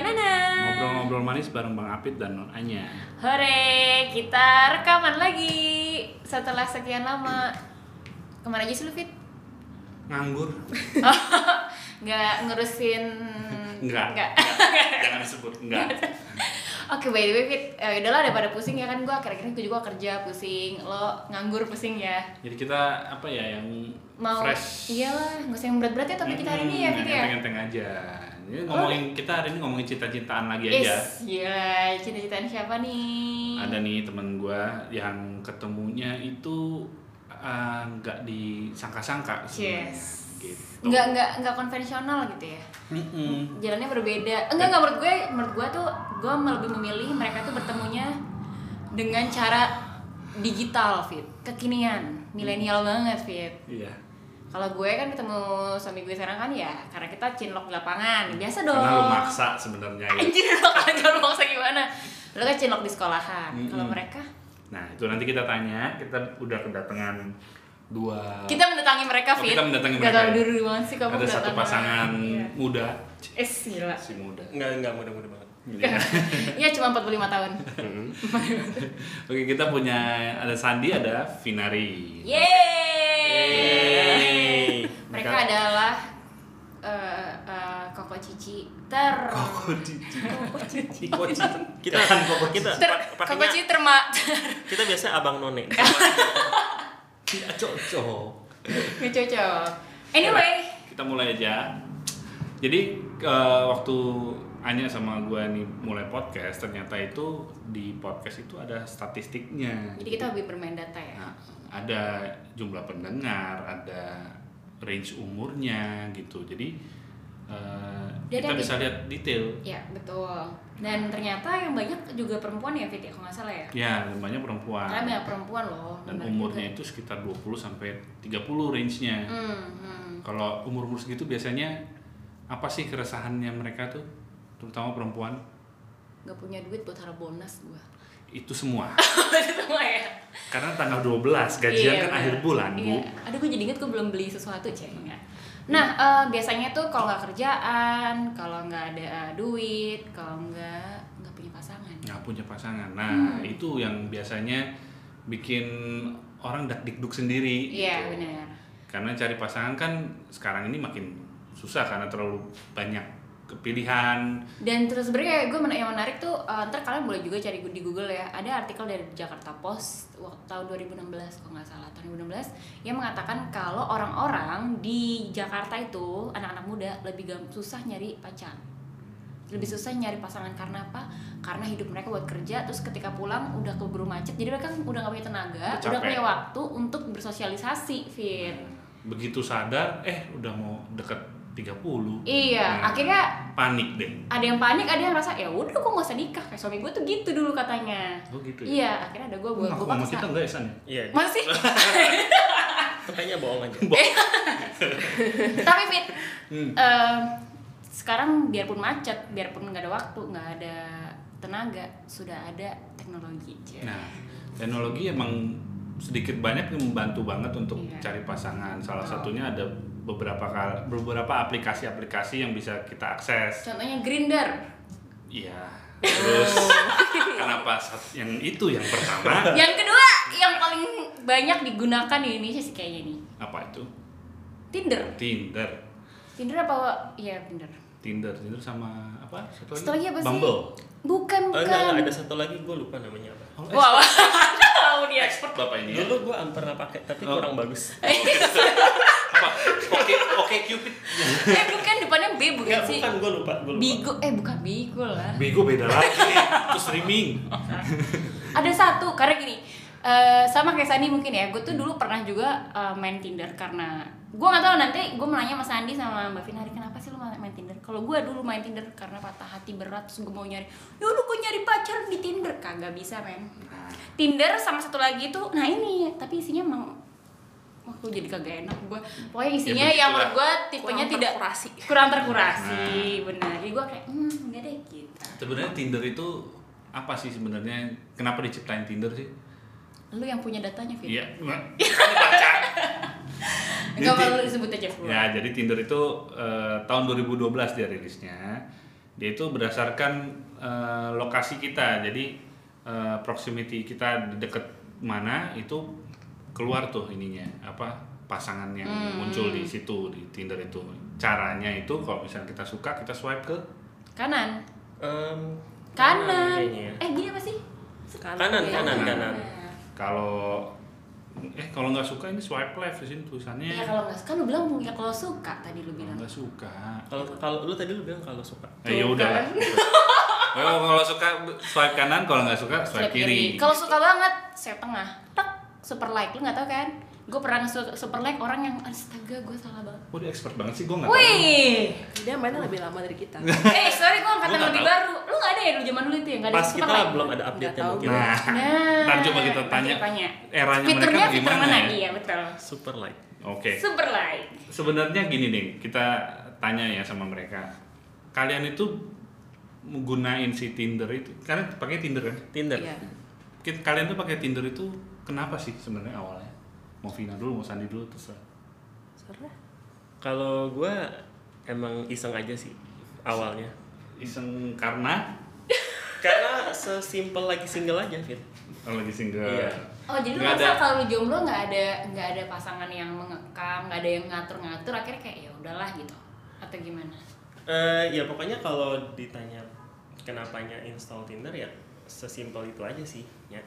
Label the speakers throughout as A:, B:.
A: Hana.
B: Ngobrol-ngobrol manis bareng Bang Apit dan Non Anya.
A: Hore, kita rekaman lagi setelah sekian lama. Kemana aja sih lu Fit?
B: Nganggur.
A: Nggak ngurusin
B: Enggak.
A: Nggak.
B: Jangan disebut enggak.
A: Oke, by the way Fit, ya udahlah daripada pusing ya kan gua akhir-akhir ini gua juga kerja pusing, lo nganggur pusing ya.
B: Jadi kita apa ya yang
A: Mau
B: fresh.
A: iyalah, nggak usah yang berat-berat ya topik kita hari ini ya
B: Mm,
A: Fit ya.
B: yang
A: Oh.
B: Enteng-enteng aja. Ini ngomongin kita hari ini ngomongin cinta-cintaan lagi aja.
A: Is, gila, cita-citaan iya. siapa nih?
B: Ada nih temen gua yang ketemunya itu eh, nggak disangka-sangka sebenarnya.
A: Yes.
B: Gitu.
A: nggak nggak nggak konvensional gitu ya
B: Mm-mm.
A: jalannya berbeda enggak enggak menurut gue menurut gue tuh gue mel- lebih memilih mereka tuh bertemunya dengan cara digital fit kekinian milenial banget fit
B: Iya.
A: kalau gue kan ketemu suami gue sekarang kan ya karena kita cinlok di lapangan biasa dong
B: Karena lu maksa sebenarnya ya.
A: anjir lo kanjor maksa gimana lo kan cinlok di sekolahan kalau
B: Mm-mm.
A: mereka
B: Nah, itu nanti kita tanya. Kita udah kedatangan dua
A: kita mendatangi mereka
B: Oh,
A: fit
B: kita
A: Gak
B: mendatangi mereka
A: tau
B: ya.
A: dulu banget sih kamu
B: ada satu
A: mendatangi.
B: pasangan
A: Iya.
B: muda.
A: eh gila
B: Si muda.
C: Enggak, enggak mudah-mudah banget.
B: Iya.
A: ya cuma 45 tahun
B: Oke, kita punya ada Sandi, ada Vinari.
A: Iya. Yeay!
B: Yeay.
A: Mereka
B: Mereka-
A: adalah eh, eh, Koko Cici ter
B: Koko Cici.
A: Koko Cici.
C: Koci. Kita
B: Kan koko
C: kita
A: Ter
C: pa-
A: Koko
C: pakainya
A: Cici terma
C: kita biasa abang none. Iya,
B: Tidak cocok.
A: Gak cocok. Anyway,
B: Kita mulai aja. Jadi eh, waktu Anya sama gua nih mulai podcast, ternyata itu di podcast itu ada statistiknya.
A: jadi kita lebih bermain data ya.
B: Nah, ada jumlah pendengar, ada range umurnya gitu. Jadi eh,
A: Dia
B: kita
A: ada
B: bisa lihat detail.
A: Ya, betul. Dan ternyata yang banyak juga perempuan ya, Fit, ya, kalau nggak salah ya.
B: Ya, banyak perempuan.
A: Karena banyak perempuan loh.
B: Dan
A: benar juga.
B: umurnya itu sekitar 20 sampai 30 range-nya.
A: Hmm, hmm.
B: Kalau umur-umur segitu biasanya apa sih keresahannya mereka tuh? Terutama perempuan.
A: Gak punya duit buat harap bonus gua.
B: Itu semua.
A: Semua ya.
B: Karena tanggal 12 gajian
A: Iya,
B: kan
A: benar.
B: akhir bulan, Bu.
A: Iya. Aduh, gue jadi inget gue belum beli sesuatu, ceng. Nah, eh, biasanya tuh kalau nggak kerjaan, kalau nggak ada eh, duit, kalau nggak nggak punya pasangan.
B: nggak punya pasangan.
A: Hmm.
B: Nah, itu yang biasanya bikin orang dakdikduk sendiri.
A: Iya,
B: gitu.
A: benar.
B: Karena cari pasangan kan sekarang ini makin susah karena terlalu banyak kepilihan.
A: Dan terus sebenarnya gue men- yang menarik tuh eh, ntar kalian boleh juga cari di Google ya. Ada artikel dari Jakarta Post waktu tahun 2016 kalau nggak salah tahun 2016 yang mengatakan kalau orang-orang di Jakarta itu anak-anak muda lebih gam- susah nyari pacar. Lebih susah nyari pasangan karena apa? Karena hidup mereka buat kerja terus ketika pulang udah keburu macet. Jadi mereka udah nggak punya tenaga,
B: Udah
A: udah
B: capek. Hmm.
A: punya waktu untuk bersosialisasi, Fit.
B: Begitu sadar, eh udah mau deket 30.
A: Iya,
B: Nah,
A: akhirnya
B: panik deh.
A: ada yang panik, ada yang rasa ya udah gue gak usah nikah kayak suami gue tuh gitu dulu katanya.
B: Oh gitu ya.
A: Iya, akhirnya ada gue
B: Lu
A: gue gue
B: ngaku sama
A: paksa.
B: kita enggak ya, San?
C: Iya.
A: Masih,
C: Kayaknya bohong aja.
A: tapi fit.
B: Hmm.
A: eh, sekarang biarpun macet, biarpun nggak ada waktu, nggak ada tenaga, sudah ada teknologi. Cie.
B: Nah, teknologi emang sedikit banyak membantu banget untuk
A: Iya.
B: cari pasangan. Salah
A: Oh.
B: satunya ada beberapa kal- beberapa aplikasi-aplikasi yang bisa kita akses.
A: Contohnya grinder.
B: Iya. Terus kenapa sat- yang itu yang pertama?
A: yang kedua, yang paling banyak digunakan di Indonesia sih kayaknya nih.
B: apa itu?
A: Tinder.
B: Tinder.
A: Tinder apa? Iya Tinder.
B: Tinder, Tinder sama apa? Satu
A: Satu lagi apa sih?
B: Bumble.
A: Bukan
C: Oh,
A: bukan.
C: enggak, enggak, ada satu lagi gue lupa namanya apa.
B: Oh,
A: Wah, wah. tahu dia.
B: expert bapak ini. ya?
C: Dulu gue pernah pakai tapi
B: Oh.
C: kurang bagus.
B: apa? Oke, oke Cupid.
A: Eh bukan depannya B bukan
C: Enggak,
A: sih?
C: bukan gue lupa, gue lupa.
A: Bigo eh bukan Bigo lah.
B: Bego beda lagi. Itu streaming.
A: Ada satu karena gini eh, sama kayak Sandi mungkin ya, gue tuh dulu pernah juga eh, main Tinder karena gue nggak tahu nanti gue mau nanya sama Sandi sama Mbak Finari kenapa sih lu main main Tinder? Kalau gue dulu main Tinder karena patah hati berat, terus gue mau nyari, yaudah gue nyari pacar di Tinder kagak bisa men. Tinder sama satu lagi tuh, nah ini tapi isinya emang Wah, gue jadi kagak enak gue pokoknya isinya
B: begitulah.
A: yang menurut gue tipenya
C: Kurang
A: tidak
C: terkurasi.
A: kurang terkurasi benar jadi gue kayak hmm enggak deh gitu
B: Sebenarnya Tinder itu apa sih sebenarnya? Kenapa diciptain Tinder sih?
A: lu yang punya datanya Fit
B: Iya, kan baca. Ya,
A: enggak
B: Jadi-
A: perlu disebut aja full
B: Ya, jadi Tinder itu eh, tahun 2012 dia rilisnya. dia itu berdasarkan eh, lokasi kita jadi eh, proximity kita di deket mana itu keluar tuh ininya apa pasangan yang muncul di situ di Tinder itu caranya itu kalau misalnya kita suka kita swipe ke
A: Kanan.
C: Em,
A: Kanan.
C: kayaknya ya.
A: Eh gini apa sih? ya.
C: Kanan, kanan,
B: Kanan.
C: kanan.
B: kalau eh kalau nggak suka ini swipe left di sini tulisannya
A: Ya kalau nggak kan lu bilang ya kalau suka tadi lu
B: kalau
A: bilang.
B: nggak suka
C: Kalau kalau lu tadi lu bilang kalau suka.
B: eh, ya
A: Tuh,
B: udah
A: kan.
B: kalau kalau suka swipe kanan kalau nggak suka swipe,
A: Swipe
B: kiri,
A: Kalau suka banget, saya tengah. Tek, super like. Lu nggak tahu kan? Gue pernah nge- super like orang yang astaga gue salah banget.
B: Waduh expert banget sih gue nggak tahu.
A: Wih.
D: Dia mainnya lebih lama dari kita.
A: eh sorry gue angkatan
B: Lu nggak
A: lebih
B: tahu.
A: baru. Lu nggak ada ya dulu zaman dulu itu ya nggak ada
C: Pas
A: super
C: kita
A: like.
C: belum ada update-nya
D: tahu.
C: mungkin.
B: Nah,
A: Nah,
B: ntar coba kita
A: nanti
B: tanya
A: tanya.
B: eranya
A: Fiturnya
B: mereka
A: fitur
B: gimana
A: mana?
B: ya?
A: Iya betul.
C: Super like.
B: Oke,
A: Super like.
B: sebenarnya gini nih, kita tanya ya sama mereka. Kalian itu menggunain si Tinder itu, kalian pakai Tinder kan?
C: Tinder.
D: Iya.
B: Ki- Kalian tuh pakai Tinder itu kenapa sih sebenarnya awalnya? Mau Vina dulu, mau Sandi dulu, terus
D: Serah.
C: Kalau gua emang iseng aja sih awalnya.
B: iseng karena
C: Karena sesimpel lagi single aja, Fit.
B: oh, lagi single.
C: Iya.
A: Oh jadi lu
B: Nggak
A: masa
B: ada.
A: kalau lu jomblo nggak ada nggak ada pasangan yang mengekang, nggak ada yang ngatur-ngatur, akhirnya kayak ya udahlah gitu atau gimana?
C: Eh, ya pokoknya kalau ditanya kenapanya install Tinder ya sesimpel itu aja sih, ya.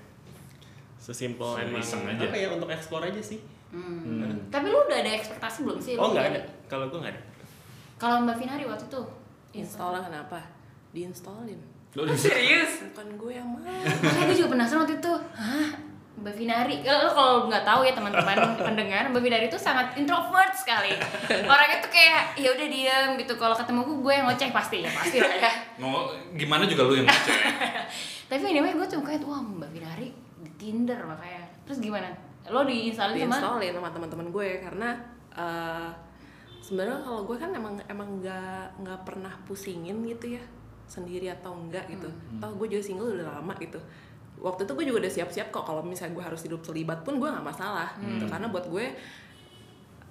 C: Sesimpel
B: Iseng
C: emang
B: aja.
C: apa ya untuk explore aja sih.
A: Hmm.
B: Hmm.
A: Tapi lu udah ada ekspektasi belum sih?
C: Oh
A: Lu
C: nggak
A: jadi-
C: ada. Kalau gua nggak ada.
A: Kalau Mbak Finari waktu itu
D: Installnya kenapa? Diinstallin.
B: Lu
A: Lu serius?
D: Bukan gue yang mau.
A: Makanya gue juga penasaran waktu itu. Hah? Mbak Finari, kalau kalau nggak tahu ya teman-teman pendengar, Mbak Finari itu sangat introvert sekali. Orangnya tuh kayak ya udah diem gitu. Kalau ketemu gue, gue yang ngoceh pasti ya pasti lah ya.
B: Mau gimana juga lu yang ngecek.
A: Tapi anyway gue tuh kayak wah Mbak Finari di Tinder makanya. Terus gimana? Lo diinstalin sama?
D: Diinstallin sama teman-teman gue karena eh, sebenarnya kalau gue kan emang emang nggak nggak pernah pusingin gitu ya sendiri atau enggak gitu. Tau gue juga single udah lama gitu. Waktu itu gue juga udah siap-siap kok kalau misalnya gue harus hidup terlibat pun gue nggak masalah gitu karena buat gue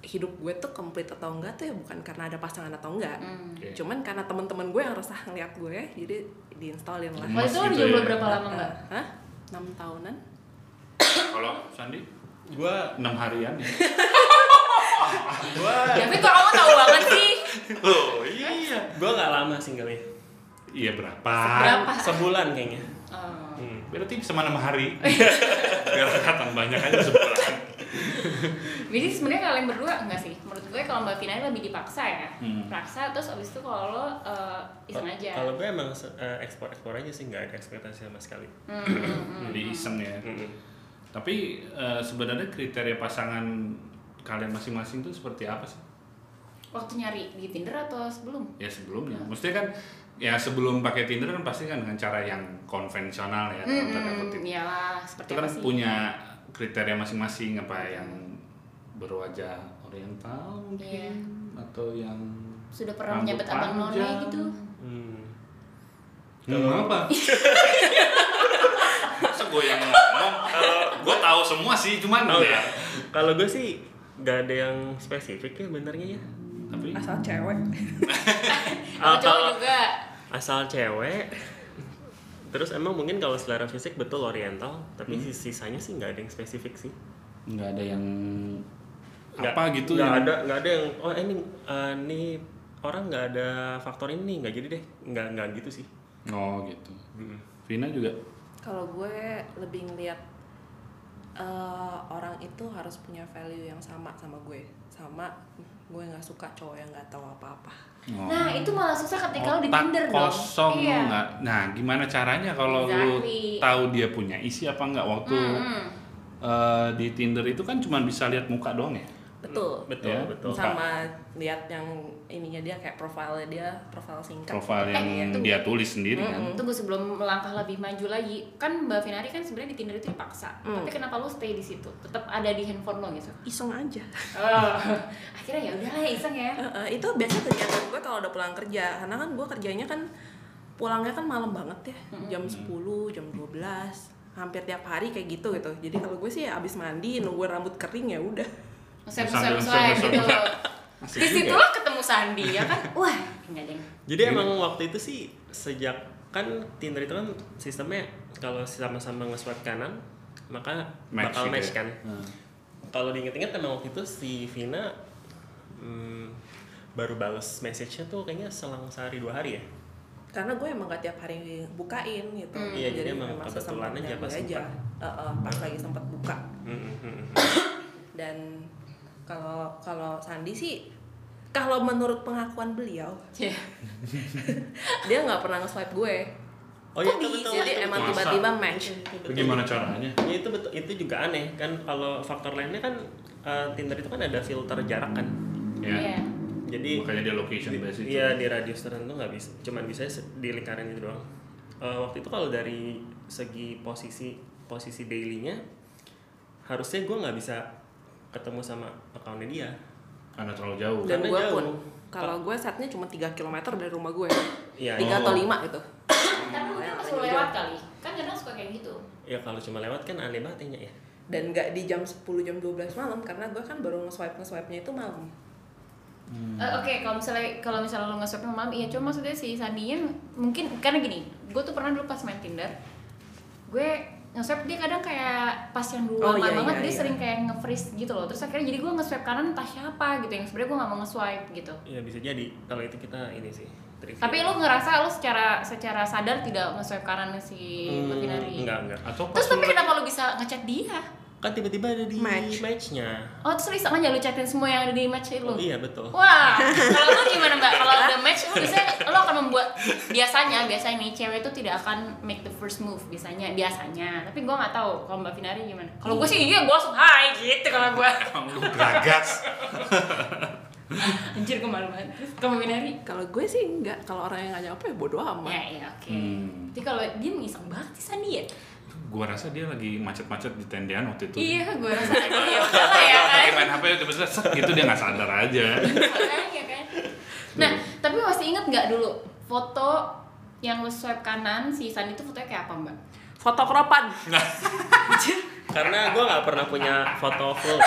D: hidup gue tuh komplit atau enggak tuh ya bukan karena ada pasangan atau enggak.
A: Hmm.
B: Oke.
D: Cuman karena teman-teman gue yang resah ngeliat gue jadi diinstallin lah.
A: Waktu itu lo
B: Gitu
A: jomblo
B: ya.
A: berapa lama Mbak?
D: Hah? 6 tahunan?
B: Kalau Sandi
C: Gua
B: enam harian ya.
C: gua
A: Ya, Tapi kok kamu tahu banget sih?
B: Oh iya.
C: gua nggak lama singlenya.
B: Iya berapa?
A: Berapa?
C: Sebulan kayaknya.
A: Oh.
C: Hmm.
B: Berarti sama enam hari. Biar kelihatan banyak aja sebulan.
A: Jadi sebenarnya kalian berdua enggak sih? Menurut gue kalau Mbak Finari lebih dipaksa ya.
B: Hmm.
A: Paksa terus abis itu kalau lo eh, iseng aja.
C: Kalau gue emang ekspor ekspor aja sih nggak ada ekspektasi sama sekali.
A: Hmm, hmm, hmm.
B: Jadi iseng ya.
C: Mm-mm.
B: Tapi eh, sebenarnya kriteria pasangan kalian masing-masing itu seperti apa sih?
A: Waktu nyari di Tinder atau sebelum?
B: Ya sebelumnya. Maksudnya kan ya sebelum pakai Tinder kan pasti kan dengan cara yang konvensional ya. dalam tanda
A: Hmm,
B: kutip.
A: iyalah
B: Itu
A: seperti
B: kan
A: apa sih?
B: punya kriteria masing-masing apa yang berwajah oriental
A: Iya.
B: mungkin atau yang
A: Sudah pernah
B: rambut
A: menyabet abang none
B: panjang.
A: gitu.
C: Hmm.
B: Hmm, apa? Masa gue yang ngomong? gue tahu semua sih, cuman
C: Tahu
B: ya.
C: ya? Kalau gue sih nggak ada yang spesifik ya benernya ya.
B: Tapi
D: Asal cewek.
A: Aku cowok
C: Kalau-
A: juga.
C: Asal cewek. Terus emang mungkin kalau selera fisik betul oriental, tapi
B: Hmm.
C: sis- sisanya sih nggak ada yang spesifik sih.
B: nggak ada yang
C: Nggak-
B: apa gitu
C: Nggak
B: yang-
C: ada nggak ada yang oh ini eh, ini orang nggak ada faktor ini nggak jadi deh nggak nggak gitu sih.
B: Oh gitu. Vina juga.
D: Kalau gue lebih ngeliat eh, orang itu harus punya value yang sama sama gue, sama gue nggak suka cowok yang nggak tahu apa-apa.
B: Oh.
A: Nah, itu malah susah ketika lo di
B: Otak
A: Tinder dong.
B: kosong
A: Iya.
B: nggak? Nah, gimana caranya kalau
A: Exactly.
B: lu tahu dia punya isi apa nggak waktu
A: Hmm, hmm.
B: eh, di Tinder itu kan cuma bisa lihat muka doang ya?
D: Betul.
C: Betul
B: Ya.
C: betul.
B: Muka.
D: Sama lihat yang ininya dia kayak profilnya dia profil singkat.
B: Profil yang
A: Eh, itu-
B: dia tulis sendiri kan.
A: Hmm, Tunggu sebelum melangkah lebih maju lagi, kan Mbak Finari kan sebenarnya di Tinder itu dipaksa.
D: Hmm.
A: Tapi kenapa lo stay di situ? Tetap ada di handphone lo gitu.
D: Iseng aja.
A: Oh, akhirnya ya udahlah ya iseng ya.
D: Eh, eh, itu biasanya kegiatan gue kalau udah pulang kerja, karena kan gue kerjanya kan pulangnya kan malam banget ya, jam 10, jam 12 hampir tiap hari kayak gitu gitu. Jadi kalau gue sih ya abis mandi nunggu rambut kering ya udah.
A: Swipe
B: Sambil
A: swipe swipe
B: swipe,
A: gitu.
B: swipe. Asik
A: Di
B: juga.
A: situlah ketemu Sandi ya kan wah enggak deng
C: Jadi emang waktu itu sih sejak kan Tinder itu kan sistemnya kalau sama-sama nge-swipe kanan maka bakal
B: gitu
C: match
B: ya.
C: kan.
B: Hmm.
C: Kalau diinget-inget emang waktu itu si Vina hmm, baru balas message-nya tuh kayaknya selang sehari dua hari ya.
D: karena gue emang gak tiap hari bukain gitu
A: Hmm.
C: Iya, jadi emang kebetulan
D: sesempatnya
C: aja pas
D: gue Eh, eh, pas lagi sempat buka
C: Hmm,
D: dan kalau kalau Sandi sih kalau menurut pengakuan beliau
A: Iya.
D: dia nggak pernah nge-swipe gue
C: Oh iya
A: Kok
C: itu
A: bisa? Iya,
C: betul.
D: jadi
C: itu
D: emang
B: Masa?
D: tiba-tiba match
B: Itu gimana caranya?
C: Ya, itu betul itu juga aneh kan kalau faktor lainnya kan eh, Tinder itu kan ada filter jarak kan.
A: Iya.
B: Ya.
C: Jadi
B: Makanya dia location
C: Di-
B: based itu.
C: Iya di radius tertentu nggak bisa, cuman bisa se- di lingkaran itu doang. Eh, waktu itu kalau dari segi posisi posisi dailynya, harusnya gue nggak bisa ketemu sama akunnya dia.
B: Karena terlalu jauh.
D: dan
C: Karena
D: gue
C: jauh.
D: pun kalau gue setnya cuma 3 km dari rumah gue
C: Iya.
D: tiga
B: Oh.
D: atau lima gitu
A: Tapi mungkin pas lu lewat kali, kan kadang suka kayak gitu.
C: Ya kalau cuma lewat kan aneh banget ya. Nya, ya.
D: dan nggak di jam 10 jam 12 malam karena gue kan baru nge-swipe nge-swipe nya itu malam Hmm.
A: Eh, Oke, kalau misalnya kalau misalnya lu nge-swipe malam, iya cuma maksudnya si Sandinya mungkin karena gini, gue tuh pernah dulu pas main Tinder, gue nge-swipe dia kadang kayak pas yang dulu
D: Oh,
A: lama
D: iya,
A: banget
D: iya,
A: dia
D: iya.
A: sering kayak nge-freeze gitu loh. Terus akhirnya jadi gue nge-swipe kanan entah siapa gitu yang sebenarnya gue nggak mau nge-swipe gitu.
C: Ya bisa jadi kalau itu kita ini sih. Trivia.
A: Tapi lu ngerasa lu secara secara sadar tidak nge-swipe kanan si
C: Hmm,
A: Mbak Finari.
C: enggak enggak.
B: Atau pas
A: Terus tapi
B: lu-
A: kenapa lu bisa ngechat dia?
C: Kan tiba-tiba ada di
D: Match.
C: matchnya.
A: Oh terus lu iseng aja lu chatin semua yang ada di match lu?
C: Oh, iya betul.
A: Wah, kalau lu gimana mbak? Kalau udah match, lu biasanya lu akan membuat biasanya biasanya nih cewek itu tidak akan make the first move biasanya biasanya. Tapi gua nggak tahu kalau mbak Finari gimana. Kalau gua sih iya gua langsung hai gitu kalau gua.
B: Emang lu geragas.
A: Anjir gua malu banget. Terus kalau mbak Finari?
D: kalau gue sih nggak kalau orang yang nggak nyapa ya bodo
A: Ya
D: amat
A: iya oke.
B: Hmm.
A: Tapi kalau dia mengisang banget sih Sandi ya.
B: Gua rasa dia lagi macet-macet di tendean waktu itu.
A: Iya gua rasa. Iya udahlah ya
B: Lagi
A: kan.
B: main HP tiba-tiba set gitu dia nggak sadar aja.
A: Makanya kan. Nah, tapi masih inget nggak dulu foto yang lu swipe kanan si Sandi itu fotonya kayak apa mbak?
D: foto kropan
C: Karena gue nggak pernah punya foto full.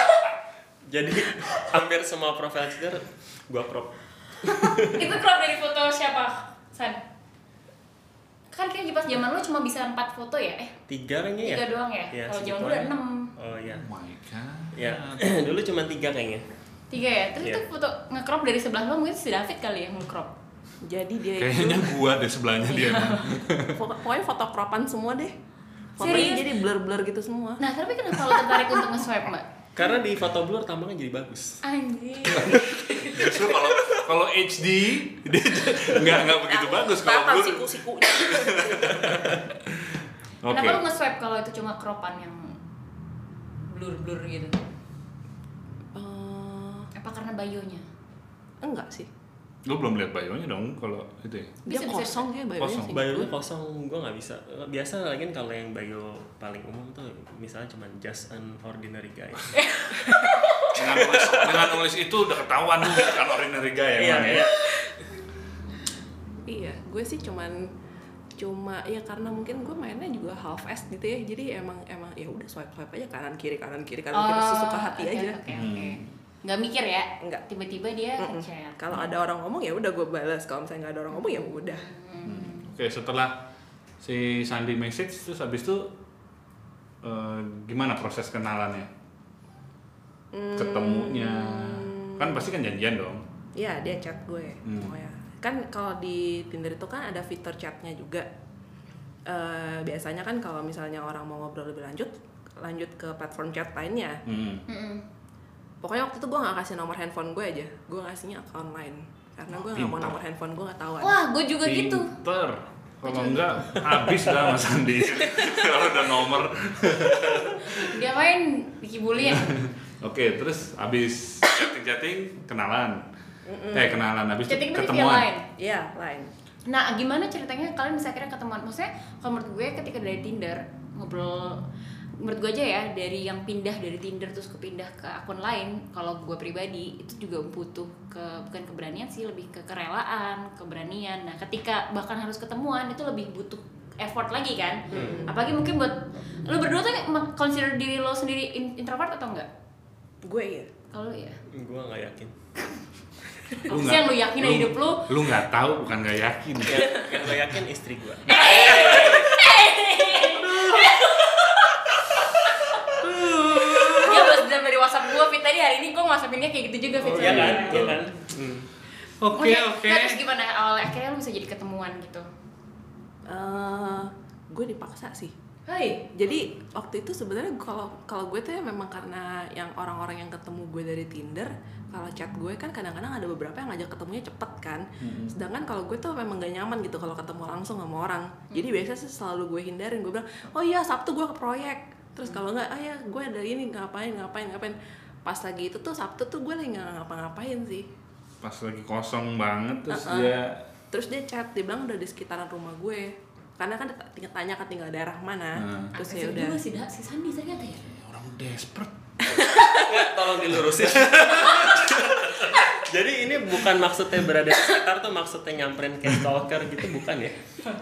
C: Jadi hampir semua profil Tinder gue crop.
A: itu crop dari foto siapa San kan kayaknya pas zaman lu cuma bisa empat foto ya eh
C: tiga kayaknya ya
A: tiga doang ya
C: Iya,
A: kalau zaman dulu
C: segituan.
A: ada enam
C: oh iya
B: Oh my god.
C: ya dulu cuma tiga kayaknya
A: tiga ya terus
C: Iya.
A: itu foto ngecrop dari sebelah lu mungkin si David kali yang ngecrop
D: jadi dia itu
B: Kayaknya gua deh sebelahnya
A: Iya.
B: dia. emang.
D: Pokok- pokoknya foto kropan semua deh fotonya
A: Serius?
D: jadi blur blur gitu semua
A: nah tapi kenapa lu tertarik untuk nge-swipe mbak
C: karena di foto blur tampangnya jadi bagus
A: anjir
B: Justru kalau kalau HD dia nggak nggak begitu gitu bagus kalau
D: Kelihatan
B: blur.
D: Nah, siku-sikunya
B: Oke.
A: kenapa lu nge-swipe kalau itu cuma cropan yang blur-blur gitu
D: Eh,
A: apa karena bayonya
D: enggak sih
B: Lu belum lihat bayonya dong kalau itu ya.
D: dia
A: Bisa, bisa.
D: kosong ya bayonya
B: Kosong.
D: sih
C: bayonya kosong gue nggak bisa biasa lagi kan kalau yang bio paling umum tuh misalnya cuma just an ordinary guy
B: Dengan nulis, dengan nulis itu udah ketahuan lu bukan ordinary guy ya. emang
A: iya.
B: ya.
D: Iya, gue sih cuman cuma ya karena mungkin gue mainnya juga half ass gitu ya. Jadi emang emang ya udah swipe swipe aja kanan kiri kanan kiri kanan kiri sesuka hati
A: Oh, oke,
D: aja.
A: oke oke nggak mikir ya
D: Nggak.
A: tiba-tiba dia
D: Mm-mm.
A: ngechat
D: Kalau ada orang ngomong ya udah gue balas. Kalau misalnya nggak ada orang ngomong ya udah.
B: Hmm. Oke, setelah si Sandi message terus habis itu eh, gimana proses kenalannya?
A: Hmm.
B: Ketemunya. Kan pasti kan janjian dong.
D: Iya dia chat gue.
B: Hmm.
D: Pokoknya. Kan kalau di Tinder itu kan ada fitur chatnya juga. Eh, biasanya kan kalau misalnya orang mau ngobrol lebih lanjut, lanjut ke platform chat lainnya.
B: Hmm.
A: Mm-mm.
D: Pokoknya waktu itu gue nggak kasih nomor handphone gue aja. Gue ngasihnya account lain. Karena gue nggak mau
B: Pintar.
D: nomor handphone gue nggak tahu.
A: wah gue juga gitu
B: Pinter. Kalau enggak habis dah Mas Sandi. Kalau udah nomor.
A: dia main ya? dikibulin
B: Oke, terus habis chatting-chatting kenalan. Eh, kenalan habis itu
A: chatting itu via
B: ketemuan.
A: line
D: Iya, lain.
A: nah gimana ceritanya kalian bisa akhirnya ketemuan maksudnya kalau menurut gue ketika dari Tinder ngobrol menurut gue aja ya dari yang pindah dari Tinder terus kepindah ke akun lain kalau gue pribadi itu juga butuh ke bukan keberanian sih lebih ke kerelaan keberanian nah ketika bahkan harus ketemuan itu lebih butuh effort lagi kan apalagi mungkin buat lo berdua tuh meng- consider diri lo sendiri in- introvert atau enggak
D: Gue iya.
A: kalau lu ya
C: gue nggak yakin
A: Apa sih yang lu yakin dari hidup lu?
B: Lu nggak tahu bukan nggak yakin.
C: yang, yang gue Ya, yakin istri gue
A: Ya pas dari WhatsApp gue, Fit tadi hari ini gue WhatsAppinnya kayak gitu juga, Fit.
C: Iya kan
B: gitu.
C: Iya kan Hmm.
B: Oke
A: Nah,
B: oke.
A: Terus gimana awal akhirnya lu bisa jadi ketemuan gitu?
D: Eh, gue dipaksa sih
A: Hai.
D: Iya, jadi waktu itu sebenarnya kalau kalau gue tuh ya memang karena yang orang-orang yang ketemu gue dari Tinder kalau chat gue kan kadang-kadang ada beberapa yang ngajak ketemunya cepet kan sedangkan kalau gue tuh memang gak nyaman gitu kalau ketemu langsung sama orang jadi biasanya sih selalu gue hindarin gue bilang oh iya Sabtu gue ke proyek terus kalau nggak ah ya gue ada ini ngapain ngapain ngapain pas lagi itu tuh Sabtu tuh gue lagi nggak ngapa-ngapain sih
B: Pas lagi kosong banget terus
D: Uh-uh.
B: dia
D: terus dia chat dia bilang udah di sekitaran rumah gue karena kan tinggal tanya kan tinggal daerah mana
B: Hmm.
D: terus ya
A: Agresif
D: udah
A: juga sih, Da. si Sandi ternyata ya.
B: orang "Oh, desperate.
C: Nggak, Ya, tolong dilurusin jadi ini bukan maksudnya berada di sekitar tuh maksudnya nyamperin ke stalker gitu bukan ya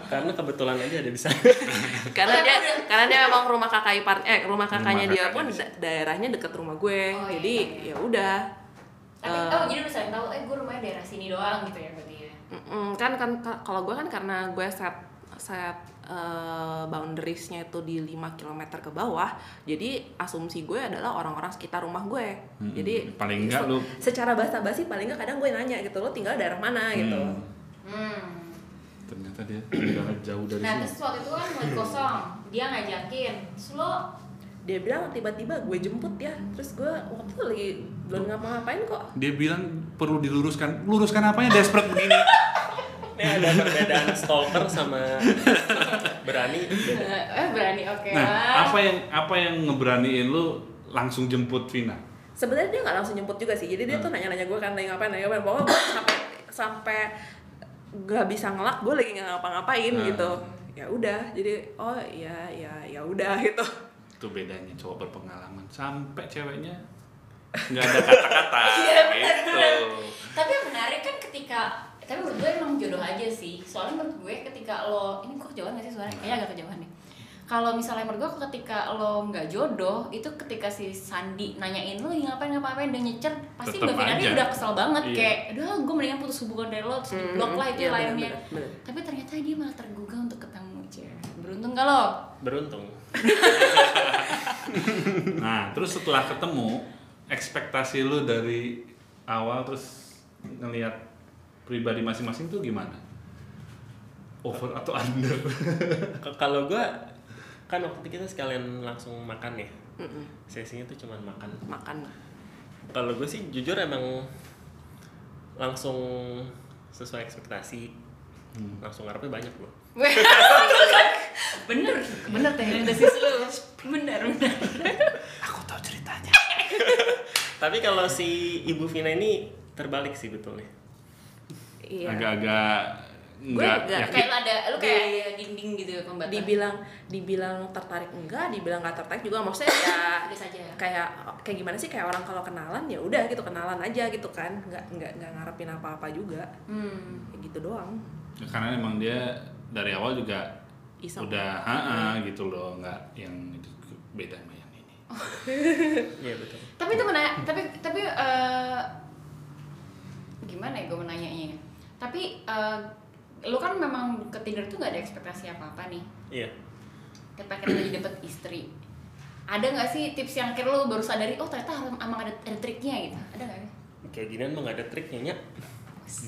C: karena kebetulan aja ada bisa
D: karena dia karena dia memang rumah kakak ipar eh rumah kakaknya
B: Rumah
D: dia
B: kakaknya
D: pun
B: sih.
D: da- daerahnya deket rumah gue
A: Oh, iya,
D: jadi
A: iya.
D: ya udah
A: Tapi,
D: Eh.
A: oh jadi lu saling tahu, eh gue rumahnya daerah sini doang gitu ya berarti ya.
D: Mm-mm, kan kan ka- kalau gue kan karena gue set set eh, boundariesnya itu di 5 km ke bawah jadi asumsi gue adalah orang-orang sekitar rumah gue
B: Mm-mm.
D: jadi
B: Paling nggak lu-
D: secara basa-basi paling nggak kadang gue nanya gitu lo tinggal daerah mana gitu
B: Hmm,
A: Hmm.
B: Ternyata dia tinggal jauh dari
A: Nah
B: sini.
A: terus waktu itu kan lagi kosong, dia ngajakin, terus lo
D: dia bilang tiba-tiba gue jemput ya terus gue waktu itu lagi belum ngapa-ngapain kok
B: Dia bilang perlu diluruskan. Luruskan apanya desperate begini?
C: ini ada perbedaan stalker sama berani beda.
A: eh berani oke lah.
B: Nah, apa yang apa yang ngeberaniin lu langsung jemput Vina?
D: sebenarnya dia nggak langsung nyemput juga sih jadi dia tuh nanya-nanya gue kan lagi ngapain lagi ngapain pokoknya gue sampai sampai gak bisa ngelak gue lagi nggak ngapa-ngapain
B: Hmm.
D: gitu ya udah jadi oh ya ya ya udah gitu
B: Itu bedanya cowok berpengalaman sampai ceweknya nggak ada kata-kata
A: Iya, benar,
B: gitu.
A: Tapi yang menarik kan ketika tapi menurut gue emang jodoh aja sih. Soalnya menurut gue ketika lo ini kok kejauhan gak sih suaranya? Kayaknya agak kejauhan nih. Kalau misalnya menurut gue ketika lo nggak jodoh, itu ketika si Sandi nanyain lo lagi ngapain ngapain dan nyecer, pasti
B: Tetep
A: Mbak Finari
B: aja.
A: udah kesel banget
B: Iya.
A: kayak, udah gue mendingan putus hubungan dari lo terus di blok lah Hmm, itu
D: Iya, bener,
A: lainnya.
D: bener, bener.
A: Tapi ternyata dia malah tergugah untuk ketemu cewek. Beruntung gak lo?
C: beruntung
B: Nah, terus setelah ketemu, ekspektasi lu dari awal terus ngelihat pribadi masing-masing tuh gimana? Over atau under?
C: K- kalau gue kan waktu itu kita sekalian langsung makan ya
D: Mm-mm.
C: sesinya tuh cuman makan
D: makan
C: kalau gue sih jujur emang langsung sesuai ekspektasi langsung ngarepnya banyak gue
A: bener, bener teh analisis lo. Bener, bener.
B: Aku tahu ceritanya.
C: tapi kalau si ibu Vina ini terbalik sih betulnya
D: iya
B: Agak-agak nggak
D: nggak
B: yakin.
A: Kayak lo ada, lo kayak dinding gitu pembatas.
D: dibilang dibilang tertarik enggak dibilang nggak tertarik juga maksudnya ya
A: Biasa aja ya.
D: kayak kayak gimana sih kayak orang kalau kenalan ya udah gitu kenalan aja gitu kan nggak nggak nggak ngarepin apa-apa juga
A: Hmm.
D: kayak gitu doang
B: Ya, Karena emang dia dari awal juga
D: Iseng.
B: udah ha gitu loh, nggak yang itu beda sama yang ini.
C: iya betul
A: Tapi itu mena tapi tapi eh, gimana ya gue menanyanya ya? Tapi eh, lu kan memang ke Tinder tuh gak ada ekspektasi apa-apa nih.
C: iya
A: Ketika kita jadi dapet istri. Ada gak sih tips yang akhirnya lu baru sadari, oh ternyata harus- emang ada, ada triknya gitu? Ada gak?
C: kayak gini emang gak ada triknya Nyak.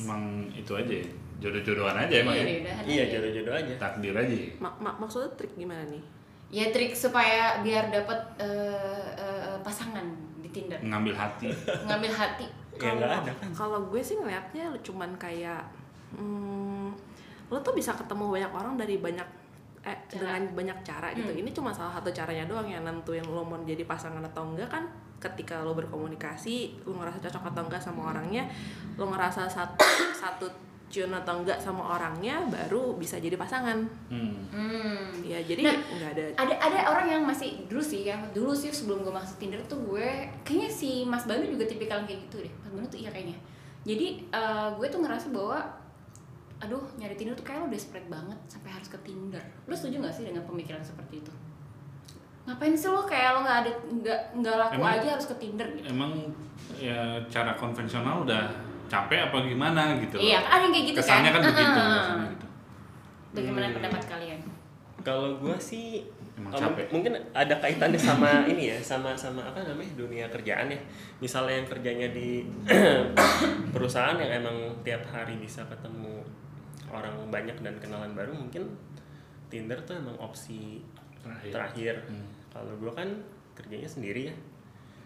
B: Emang itu aja, ya, jodoh-jodohan aja emang
A: Iya,
B: ya.
A: udah ada
C: iya
A: ya.
C: jodoh-jodoh aja
B: Takdir aja. ya.
D: Ma- ma- maksudnya trik gimana nih
A: Ya trik supaya biar dapet eh, eh, pasangan di Tinder.
B: Ngambil hati.
A: Ngambil hati.
C: ya nggak
D: Kalau-
C: ada kan
D: Kalau gue sih ngeliatnya lu cuman kayak hmm, lo tuh bisa ketemu banyak orang dari banyak eh
A: Cara.
D: dengan banyak cara gitu.
A: Hmm.
D: Ini cuma salah satu caranya doang yang nentuin lo mau jadi pasangan atau enggak kan ketika lo berkomunikasi, lo ngerasa cocok atau enggak
A: Hmm.
D: sama orangnya, lo ngerasa satu satu tune atau enggak sama orangnya baru bisa jadi pasangan.
B: Hmm.
A: Hmm.
D: Ya jadi
A: Nah,
D: enggak ada
A: ada ada orang yang masih dulu sih ya dulu sih sebelum gue masuk Tinder tuh gue kayaknya si Mas Banu juga tipikal kayak gitu deh Mas Banu tuh iya kayaknya jadi eh, gue tuh ngerasa bahwa aduh nyari Tinder tuh kayak lo desperate banget sampai harus ke Tinder lo setuju gak sih dengan pemikiran seperti itu ngapain sih lo kayak lo nggak ada nggak nggak laku
B: Emang-
A: aja harus ke Tinder gitu
B: Emang ya cara konvensional udah capek apa gimana gitu.
A: Iya, ada yang kayak gitu
B: Kesannya kan
A: kan?
B: begitu,
A: Heeh.
B: kesannya gitu.
A: Bagaimana
C: Hmm.
A: pendapat kalian?
C: Kalau gua sih
B: Emang
C: eh,
B: capek.
C: mung- mungkin ada kaitannya sama ini ya, sama sama apa namanya dunia kerjaan ya. Misalnya yang kerjanya di perusahaan yang emang tiap hari bisa ketemu orang banyak dan kenalan baru, mungkin Tinder tuh emang opsi
B: Terakhir.
C: terakhir.
B: Hmm.
C: Kalau gua kan kerjanya sendiri ya,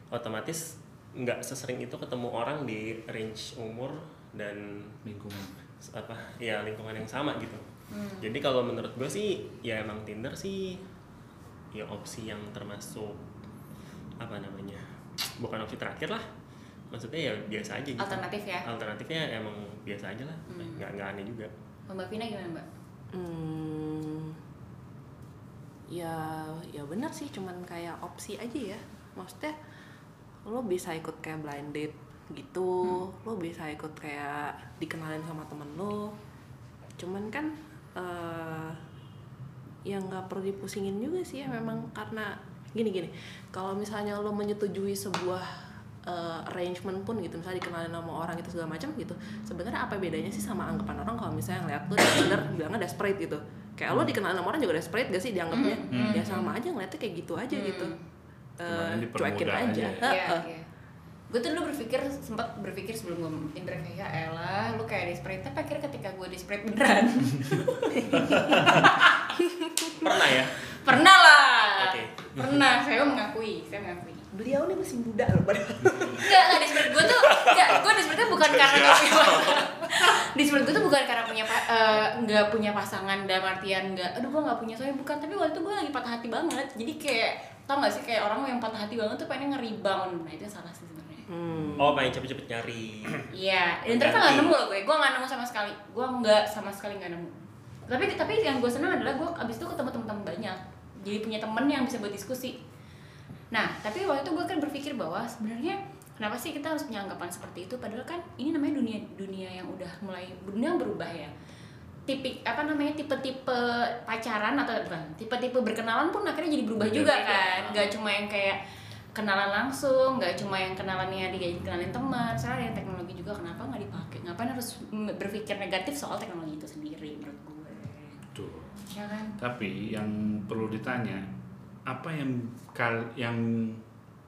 C: otomatis nggak sesering itu ketemu orang di range umur dan
B: Lingkungan.
C: apa ya lingkungan yang sama gitu
A: Hmm.
C: jadi kalau menurut gue sih ya emang Tinder sih ya opsi yang termasuk apa namanya bukan opsi terakhir lah maksudnya ya biasa aja gitu
A: Alternatif ya.
C: alternatifnya emang biasa aja lah
A: Hmm.
C: nggak nggak aneh juga
A: Mbak Vina gimana Mbak?
D: Hmm, ya ya benar sih cuman kayak opsi aja ya maksudnya lo bisa ikut kayak blind date gitu lo bisa ikut kayak dikenalin sama temen lo cuman kan eh yang nggak perlu dipusingin juga sih ya memang karena gini gini kalau misalnya lo menyetujui sebuah eh, arrangement pun gitu misalnya dikenalin sama orang itu segala macam gitu sebenarnya apa bedanya sih sama anggapan orang kalau misalnya ngeliat lo di Tinder bilangnya desperate gitu kayak lo dikenalin sama orang juga desperate gak sih dianggapnya
B: Hmm.
D: ya sama aja ngeliatnya kayak gitu aja
A: Hmm.
D: gitu
B: Cuman
D: Eh,
B: dipermudah
D: cuekin aja,
B: aja ya.
A: Iya,
D: Heeh.
A: iya. Gue tuh dulu berpikir sempat berpikir sebelum gue Tinder kayak ya elah lu kayak desperate tapi akhirnya ketika gue desperate beneran
C: pernah ya
A: pernah lah
C: Oke.
A: pernah saya mengakui saya mengakui
D: beliau nih masih muda loh padahal
A: Enggak, enggak desperate gue tuh enggak, gue desperate bukan karena gak punya Desperate gue tuh bukan karena punya pa- eh, nggak punya pasangan dalam artian nggak aduh gue nggak punya soalnya bukan tapi waktu itu gue lagi patah hati banget jadi kayak tau gak sih kayak orang yang patah hati banget tuh pengen nge-rebound nah itu yang salah sih sebenarnya
D: hmm.
C: oh pengen cepet-cepet nyari
A: iya dan ternyata nggak nemu loh gue gue nggak nemu sama sekali gue nggak sama sekali nggak nemu tapi tapi yang gue senang adalah gue abis itu ketemu teman-teman banyak jadi punya temen yang bisa buat diskusi Nah, tapi waktu itu gue kan berpikir bahwa sebenarnya kenapa sih kita harus punya anggapan seperti itu? Padahal kan ini namanya dunia dunia yang udah mulai dunia yang berubah ya. Tipik apa namanya tipe-tipe pacaran atau bukan tipe-tipe berkenalan pun akhirnya jadi berubah juga kan. Gak cuma yang kayak kenalan langsung, nggak cuma yang kenalannya di kenalin teman, soalnya ada teknologi juga kenapa nggak dipakai? Ngapain harus berpikir negatif soal teknologi itu sendiri menurut gue?
B: Tuh.
A: Ya kan?
B: Tapi yang perlu ditanya, apa yang kal yang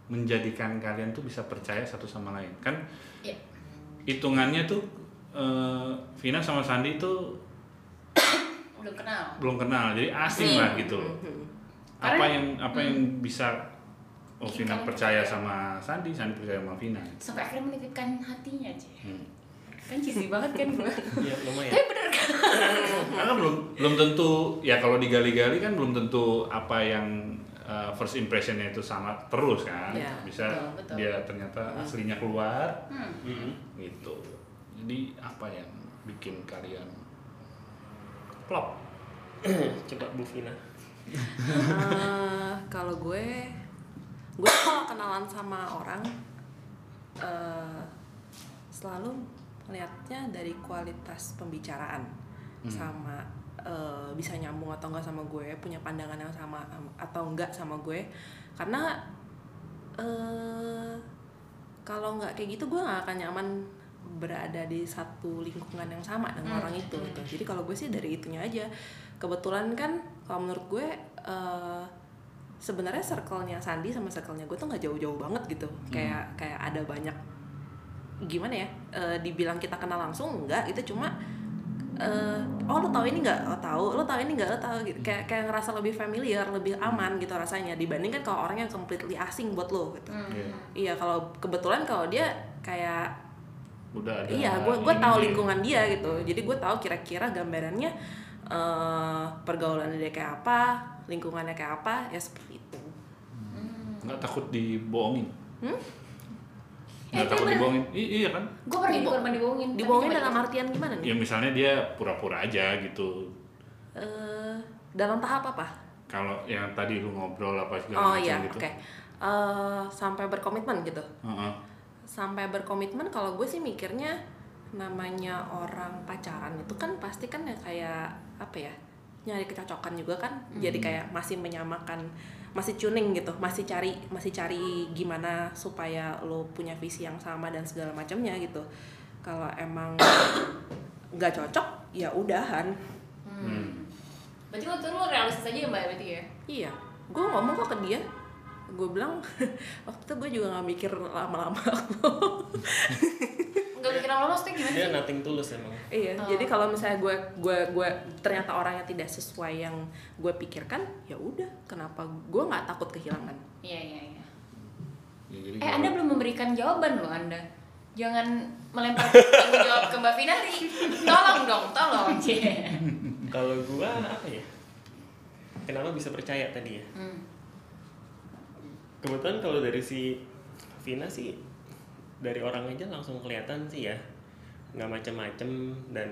B: menjadikan kalian tuh bisa percaya satu sama lain? Kan
A: Iya.
B: hitungannya tuh eh, Vina sama Sandi itu
A: Belum kenal.
B: belum kenal, jadi asing
A: Hmm.
B: lah gitu. loh. Apa
A: Karena- Hmm.
B: yang apa yang bisa Oh
A: Bikin
B: Vina
A: kamu
B: percaya
A: percaya.
B: sama Sandi, Sandi percaya sama Vina.
A: Sampai akhirnya menitipkan hatinya aja.
B: Hmm.
A: kan cheesy banget kan gue
C: ya lumayan
A: tapi bener kan
B: Karena kan belum belum tentu ya kalau digali-gali kan belum tentu apa yang uh, first impressionnya itu sama terus kan
D: Iya,
B: bisa
A: betul, betul.
B: dia ternyata aslinya keluar
A: hmm.
C: Hmm.
B: gitu jadi apa yang bikin kalian plop
C: coba Bu Vina
D: Eh, kalau gue gue kalau kenalan sama orang eh, selalu melihatnya dari kualitas pembicaraan sama eh, bisa nyambung atau enggak sama gue punya pandangan yang sama am- atau enggak sama gue karena eh kalau nggak kayak gitu gue nggak akan nyaman berada di satu lingkungan yang sama dengan
A: Hmm.
D: orang itu gitu. jadi kalau gue sih dari itunya aja kebetulan kan kalau menurut gue eh, sebenarnya circle-nya Sandi sama circle-nya gue tuh nggak jauh-jauh banget gitu kayak kayak ada banyak gimana ya eh, dibilang kita kenal langsung enggak itu cuma eh, oh lo tahu ini nggak lo tahu lo tahu ini nggak lo tahu gitu kayak kayak ngerasa lebih familiar lebih aman gitu rasanya dibandingkan kalau orangnya completely asing buat lo gitu
A: Hmm.
B: Iya.
D: iya kalau kebetulan kalau dia kayak
B: udah ada
D: iya gue gue
B: ini
D: tahu
B: nih.
D: lingkungan dia gitu jadi gue tahu kira-kira gambarannya eh pergaulannya dia kayak apa lingkungannya kayak apa ya seperti itu
B: nggak takut dibohongin
D: Hmm?
A: Eh,
B: nggak
D: Ya,
A: itu
B: takut
A: bener.
B: dibohongin I- iya kan
A: gue pernah jadi korban dibohongin tapi
D: dibohongin
A: coba-
D: dalam artian gimana
B: ya
D: nih
B: misalnya dia pura-pura aja gitu
D: Eh, dalam tahap apa
B: kalau yang tadi lu ngobrol apa segala
D: oh
B: macam
D: iya
B: gitu
D: oke Eh, sampai berkomitmen gitu
B: Heeh.
D: sampai berkomitmen kalau gue sih mikirnya namanya orang pacaran itu kan pasti kan ya kayak apa ya nyari kecocokan juga kan jadi kayak masih menyamakan masih tuning gitu masih cari masih cari gimana supaya lo punya visi yang sama dan segala macamnya gitu kalau emang nggak cocok ya udahan
A: Hmm. Berarti waktu itu lu realistis aja ya mbak berarti ya?
D: iya gue ngomong kok ke dia gue bilang waktu itu gue juga nggak mikir lama-lama
A: Enggak mikir lama maksudnya gimana
C: dia
A: sih?
C: nothing tulus emang
D: iya
A: Oh.
D: jadi kalau misalnya gue gue gue ternyata orangnya tidak sesuai yang gue pikirkan ya udah kenapa gue nggak takut kehilangan
A: Iya iya iya.
B: Ya,
D: Iya.
B: jadi
A: Eh
B: kalau-
A: anda belum memberikan jawaban loh anda. Jangan melempar tanggung jawab ke mbak Finari. Tolong dong, tolong. Cie.
D: Iya.
C: kalau gua apa ya kenapa bisa percaya tadi ya
A: Hmm.
C: kebetulan kalau dari si Vina sih dari orang aja langsung kelihatan sih ya nggak macem-macem dan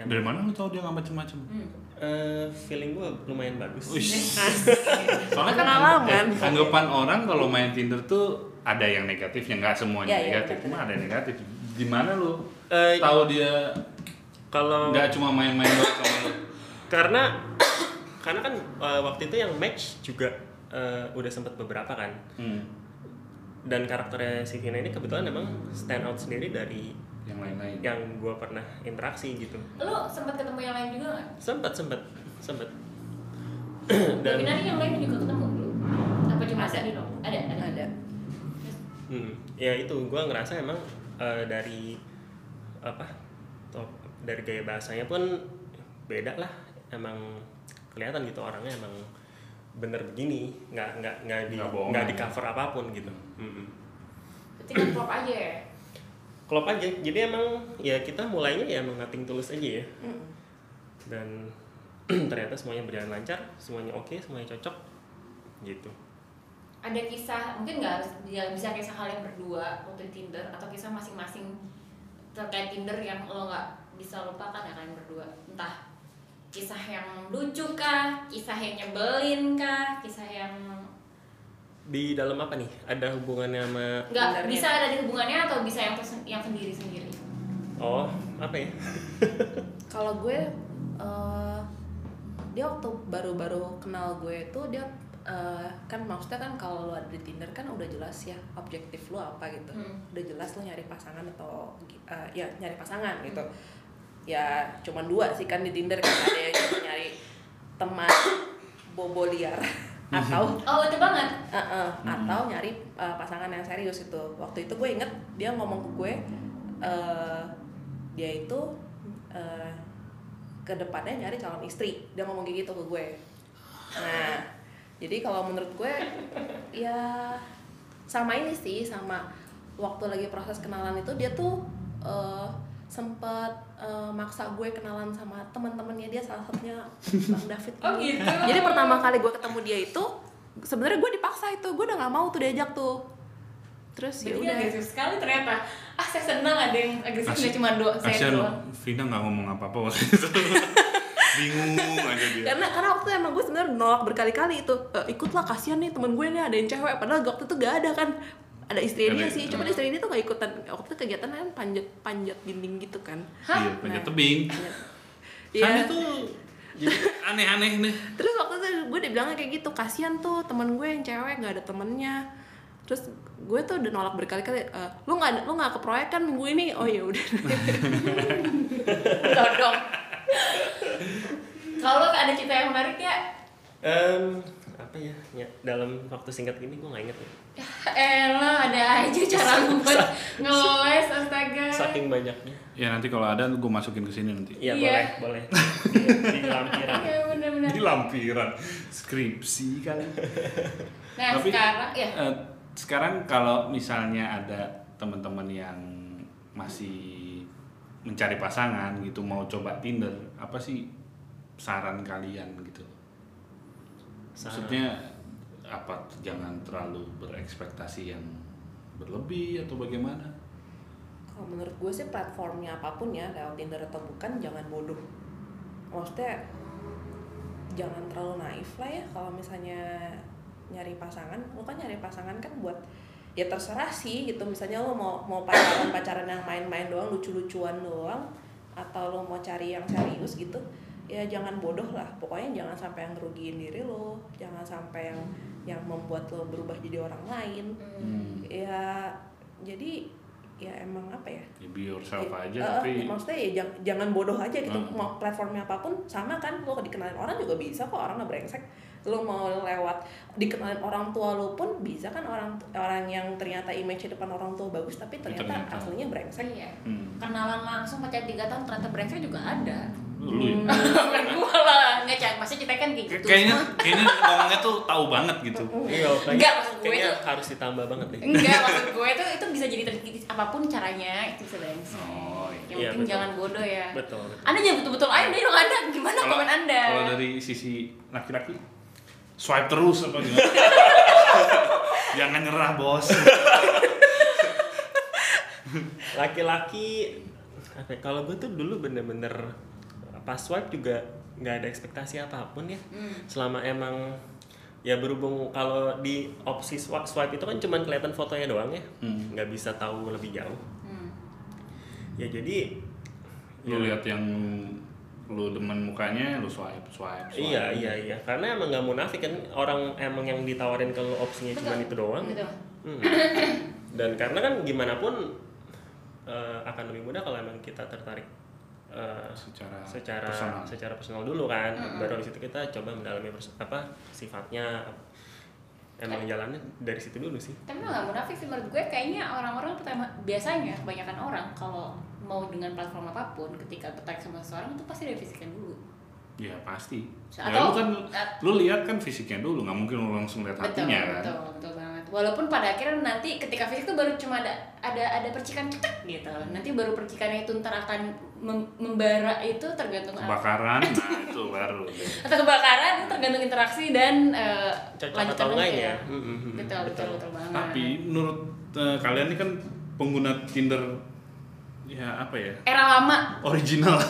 B: dari mana lu tau dia nggak macem-macem?
A: Hmm.
C: Eh, feeling gua lumayan bagus
B: Uish. Soalnya kan
D: Pengalaman.
B: eh, anggapan orang kalau main Tinder tuh ada yang negatifnya, nggak semuanya
A: Ya, ya,
B: negatif,
A: betul.
B: cuma ada yang negatif. Gimana lu
C: Eh,
B: tahu dia
C: kalau
B: nggak cuma main-main doang sama lu?
C: karena karena kan eh, waktu itu yang match juga eh, udah sempat beberapa kan
B: Hmm,
C: dan karakternya si Vina ini kebetulan memang stand out sendiri dari
B: yang lain-lain.
A: Ya,
C: yang gua pernah interaksi gitu
A: Lu sempat ketemu yang lain juga nggak?
C: sempet sempet sempet
A: Mbak
C: dan
A: Finari yang lain juga ketemu belum? Apa cuma
D: Ada.
A: ada dong? Ada ada.
D: ada
C: Hmm, ya itu gua ngerasa emang eh, dari apa top dari gaya bahasanya pun beda lah emang kelihatan gitu orangnya emang bener begini nggak nggak nggak di
B: Nggak bohong. ya.
C: nggak di cover apapun gitu Mm-mm.
A: Berarti kan klop aja ya.
C: klop aja jadi emang ya kita mulainya ya emang nothing tulus aja ya dan ternyata semuanya berjalan lancar semuanya oke semuanya cocok gitu
A: Ada kisah mungkin nggak harus ya, bisa kisah kalian berdua untuk Tinder atau kisah masing-masing terkait Tinder yang lo nggak bisa lupakan ya kalian berdua entah kisah yang lucu kah, kisah yang nyebelin kah, kisah yang
C: di dalam apa nih ada hubungannya sama
A: nggak
D: Tindernya.
A: bisa ada di hubungannya atau bisa yang persen- yang sendiri sendiri.
C: oh apa ya
D: kalau gue eh, dia waktu baru-baru kenal gue itu dia eh, kan maksudnya kan kalau lu ada di Tinder kan udah jelas ya objektif lu apa gitu
A: Hmm.
D: udah jelas lu nyari pasangan atau eh, ya nyari pasangan gitu ya cuman dua sih kan di Tinder kan ada yang cuma nyari teman bobo liar atau
A: Oh itu banget.
D: Eh, eh, atau nyari eh, pasangan yang serius itu waktu itu gue inget dia ngomong ke gue eh, dia itu eh, ke depannya nyari calon istri dia ngomong kayak gitu ke gue nah jadi kalau menurut gue ya sama ini sih sama waktu lagi proses kenalan itu dia tuh eh, sempet eh, maksa gue kenalan sama teman-temannya dia salah satunya bang David
A: Oh, gitu.
D: jadi pertama kali gue ketemu dia itu sebenarnya gue dipaksa itu gue udah nggak mau tuh diajak tuh terus ya
A: Berarti
D: udah
A: agresif sekali ternyata. Ah saya senang ada yang agresif
B: Kasih-
A: nggak cuma dua saya
B: Kasian
A: doang.
B: Vina nggak ngomong apa-apa waktu itu. Bingung aja dia.
D: karena karena waktu itu emang gue sebenarnya nolak berkali-kali itu e, ikutlah kasihan nih temen gue nih ada yang cewek padahal waktu itu gak ada kan ada istrinya dia
B: Ada-
D: sih cuman istri ini tuh gak ikutan waktu itu kegiatannya kan panjat panjat dinding gitu kan
B: Iya, panjat
D: Nah.
B: tebing. Sana
D: Iya.
B: tuh jadi aneh-aneh nih.
D: terus waktu itu gue dibilangnya kayak gitu kasihan tuh temen gue yang cewek nggak ada temennya terus gue tuh udah nolak berkali-kali e, lu nggak lu nggak ke proyek kan minggu ini oh ya udah
A: Dodong. Kalau ada cerita yang menarik ya,
C: Em, apa ya, ya, dalam waktu singkat gini gue nggak inget ya.
A: elah ada aja cara lu buat ngeles astaga.
C: saking banyaknya
B: Ya nanti kalau ada gue masukin ke sini nanti.
C: iya
A: Iya.
C: boleh boleh di, di lampiran
A: Iya benar-benar.
B: Jadi lampiran skripsi kali.
A: Nah
B: Tapi-
A: sekarang ya
B: Eh, sekarang kalau misalnya ada teman-teman yang masih mencari pasangan gitu mau coba Tinder, apa sih saran kalian gitu? Maksudnya apa jangan terlalu berekspektasi yang berlebih atau bagaimana?
D: Kalau menurut gue sih platformnya apapun ya, lewat Tinder atau bukan, jangan bodoh. Maksudnya jangan terlalu naif lah ya kalau misalnya nyari pasangan, lo kan nyari pasangan kan buat ya terserah sih gitu. Misalnya lo mau mau pacaran pacaran yang main-main doang, lucu-lucuan doang, atau lo mau cari yang serius gitu, ya jangan bodoh lah. Pokoknya jangan sampai yang ngerugiin diri lo, jangan sampai yang
B: Hmm.
D: yang membuat lo berubah jadi orang lain
A: Hmm.
D: ya jadi ya emang apa ya
B: Ya, be yourself
D: Ya,
B: aja
D: eh,
B: tapi
D: eh, maksudnya ya jangan, jangan bodoh aja gitu
B: Hmm.
D: mau platformnya apapun sama kan lo dikenalin orang juga bisa kok orang nggak brengsek lo mau lewat dikenalin orang tua lo pun bisa kan orang orang yang ternyata image depan orang tua bagus tapi ternyata,
B: Ternyata.
D: aslinya brengsek
A: Iya.
B: hmm,
A: Kenalan langsung pacar tiga tahun ternyata brengsek juga ada.
B: lu ya.
D: Hmm.
A: Bukan gua lah. Nggak, Cak. Maksudnya kita kan kayak
B: Kay-
A: gitu.
B: kayaknya kayaknya ngomongnya tuh tahu banget gitu
C: Iya, makanya
A: Enggak, maksud gue
C: kayaknya
A: tuh-
C: harus ditambah banget deh.
A: Enggak, maksud gue itu itu bisa jadi terkikis apapun caranya itu bisa brengsek.
B: Oh,
A: Yang
B: iya.
C: Iya,
A: penting
C: betul.
A: jangan bodoh ya.
C: Betul, betul.
A: Anda jangan betul-betul aja dong Anda gimana
B: Kalau-
A: komen Anda?
B: kalau dari sisi laki-laki swipe terus apa gimana jangan nyerah bos
C: Laki-laki apa ya, kalau gue tuh dulu bener-bener pas swipe juga nggak ada ekspektasi apapun ya.
A: Hmm.
C: Selama emang ya berhubung kalau di opsi swipe, swipe itu kan cuman kelihatan fotonya doang ya.
B: Hmm.
C: Nggak bisa tahu lebih jauh.
A: Hmm.
C: Ya jadi Iya.
B: lu lihat yang lu demen mukanya lu swipe swipe, swipe.
C: Iya iya iya karena emang nggak munafik kan orang emang yang ditawarin kalau opsinya
A: Betul.
C: cuma itu doang.
A: Betul.
C: Hmm. Dan karena kan gimana pun eh, akan lebih mudah kalau emang kita tertarik eh,
B: secara
C: secara
B: personal.
C: secara personal dulu kan baru di situ kita coba mendalami pers- apa sifatnya emang jalannya dari situ dulu sih
A: Tapi lo nggak munafik sih menurut gue kayaknya orang-orang pertama biasanya kebanyakan orang kalau mau dengan platform apapun ketika tertarik sama seseorang itu pasti dari fisiknya dulu.
B: Iya pasti.
A: Atau-
B: ya, lu kan lu lihat kan fisiknya dulu, nggak mungkin lu langsung lihat hatinya kan.
A: betul, betul banget. Walaupun pada akhirnya nanti ketika fisik tuh baru cuma ada ada ada percikan cetek gitu. Nanti baru percikannya itu ntar akan mem- membara itu tergantung apa.
B: Kebakaran, nah itu baru.
A: atau kebakaran itu tergantung interaksi dan eh,
C: cocok
A: lanjutan
C: atau
A: lagi
C: enggaknya
A: ya.
C: Hmm, hmm, hmm.
A: Betul, betul, betul banget.
B: Tapi menurut eh, kalian ini kan pengguna Tinder ya apa ya?
A: era lama
B: Original.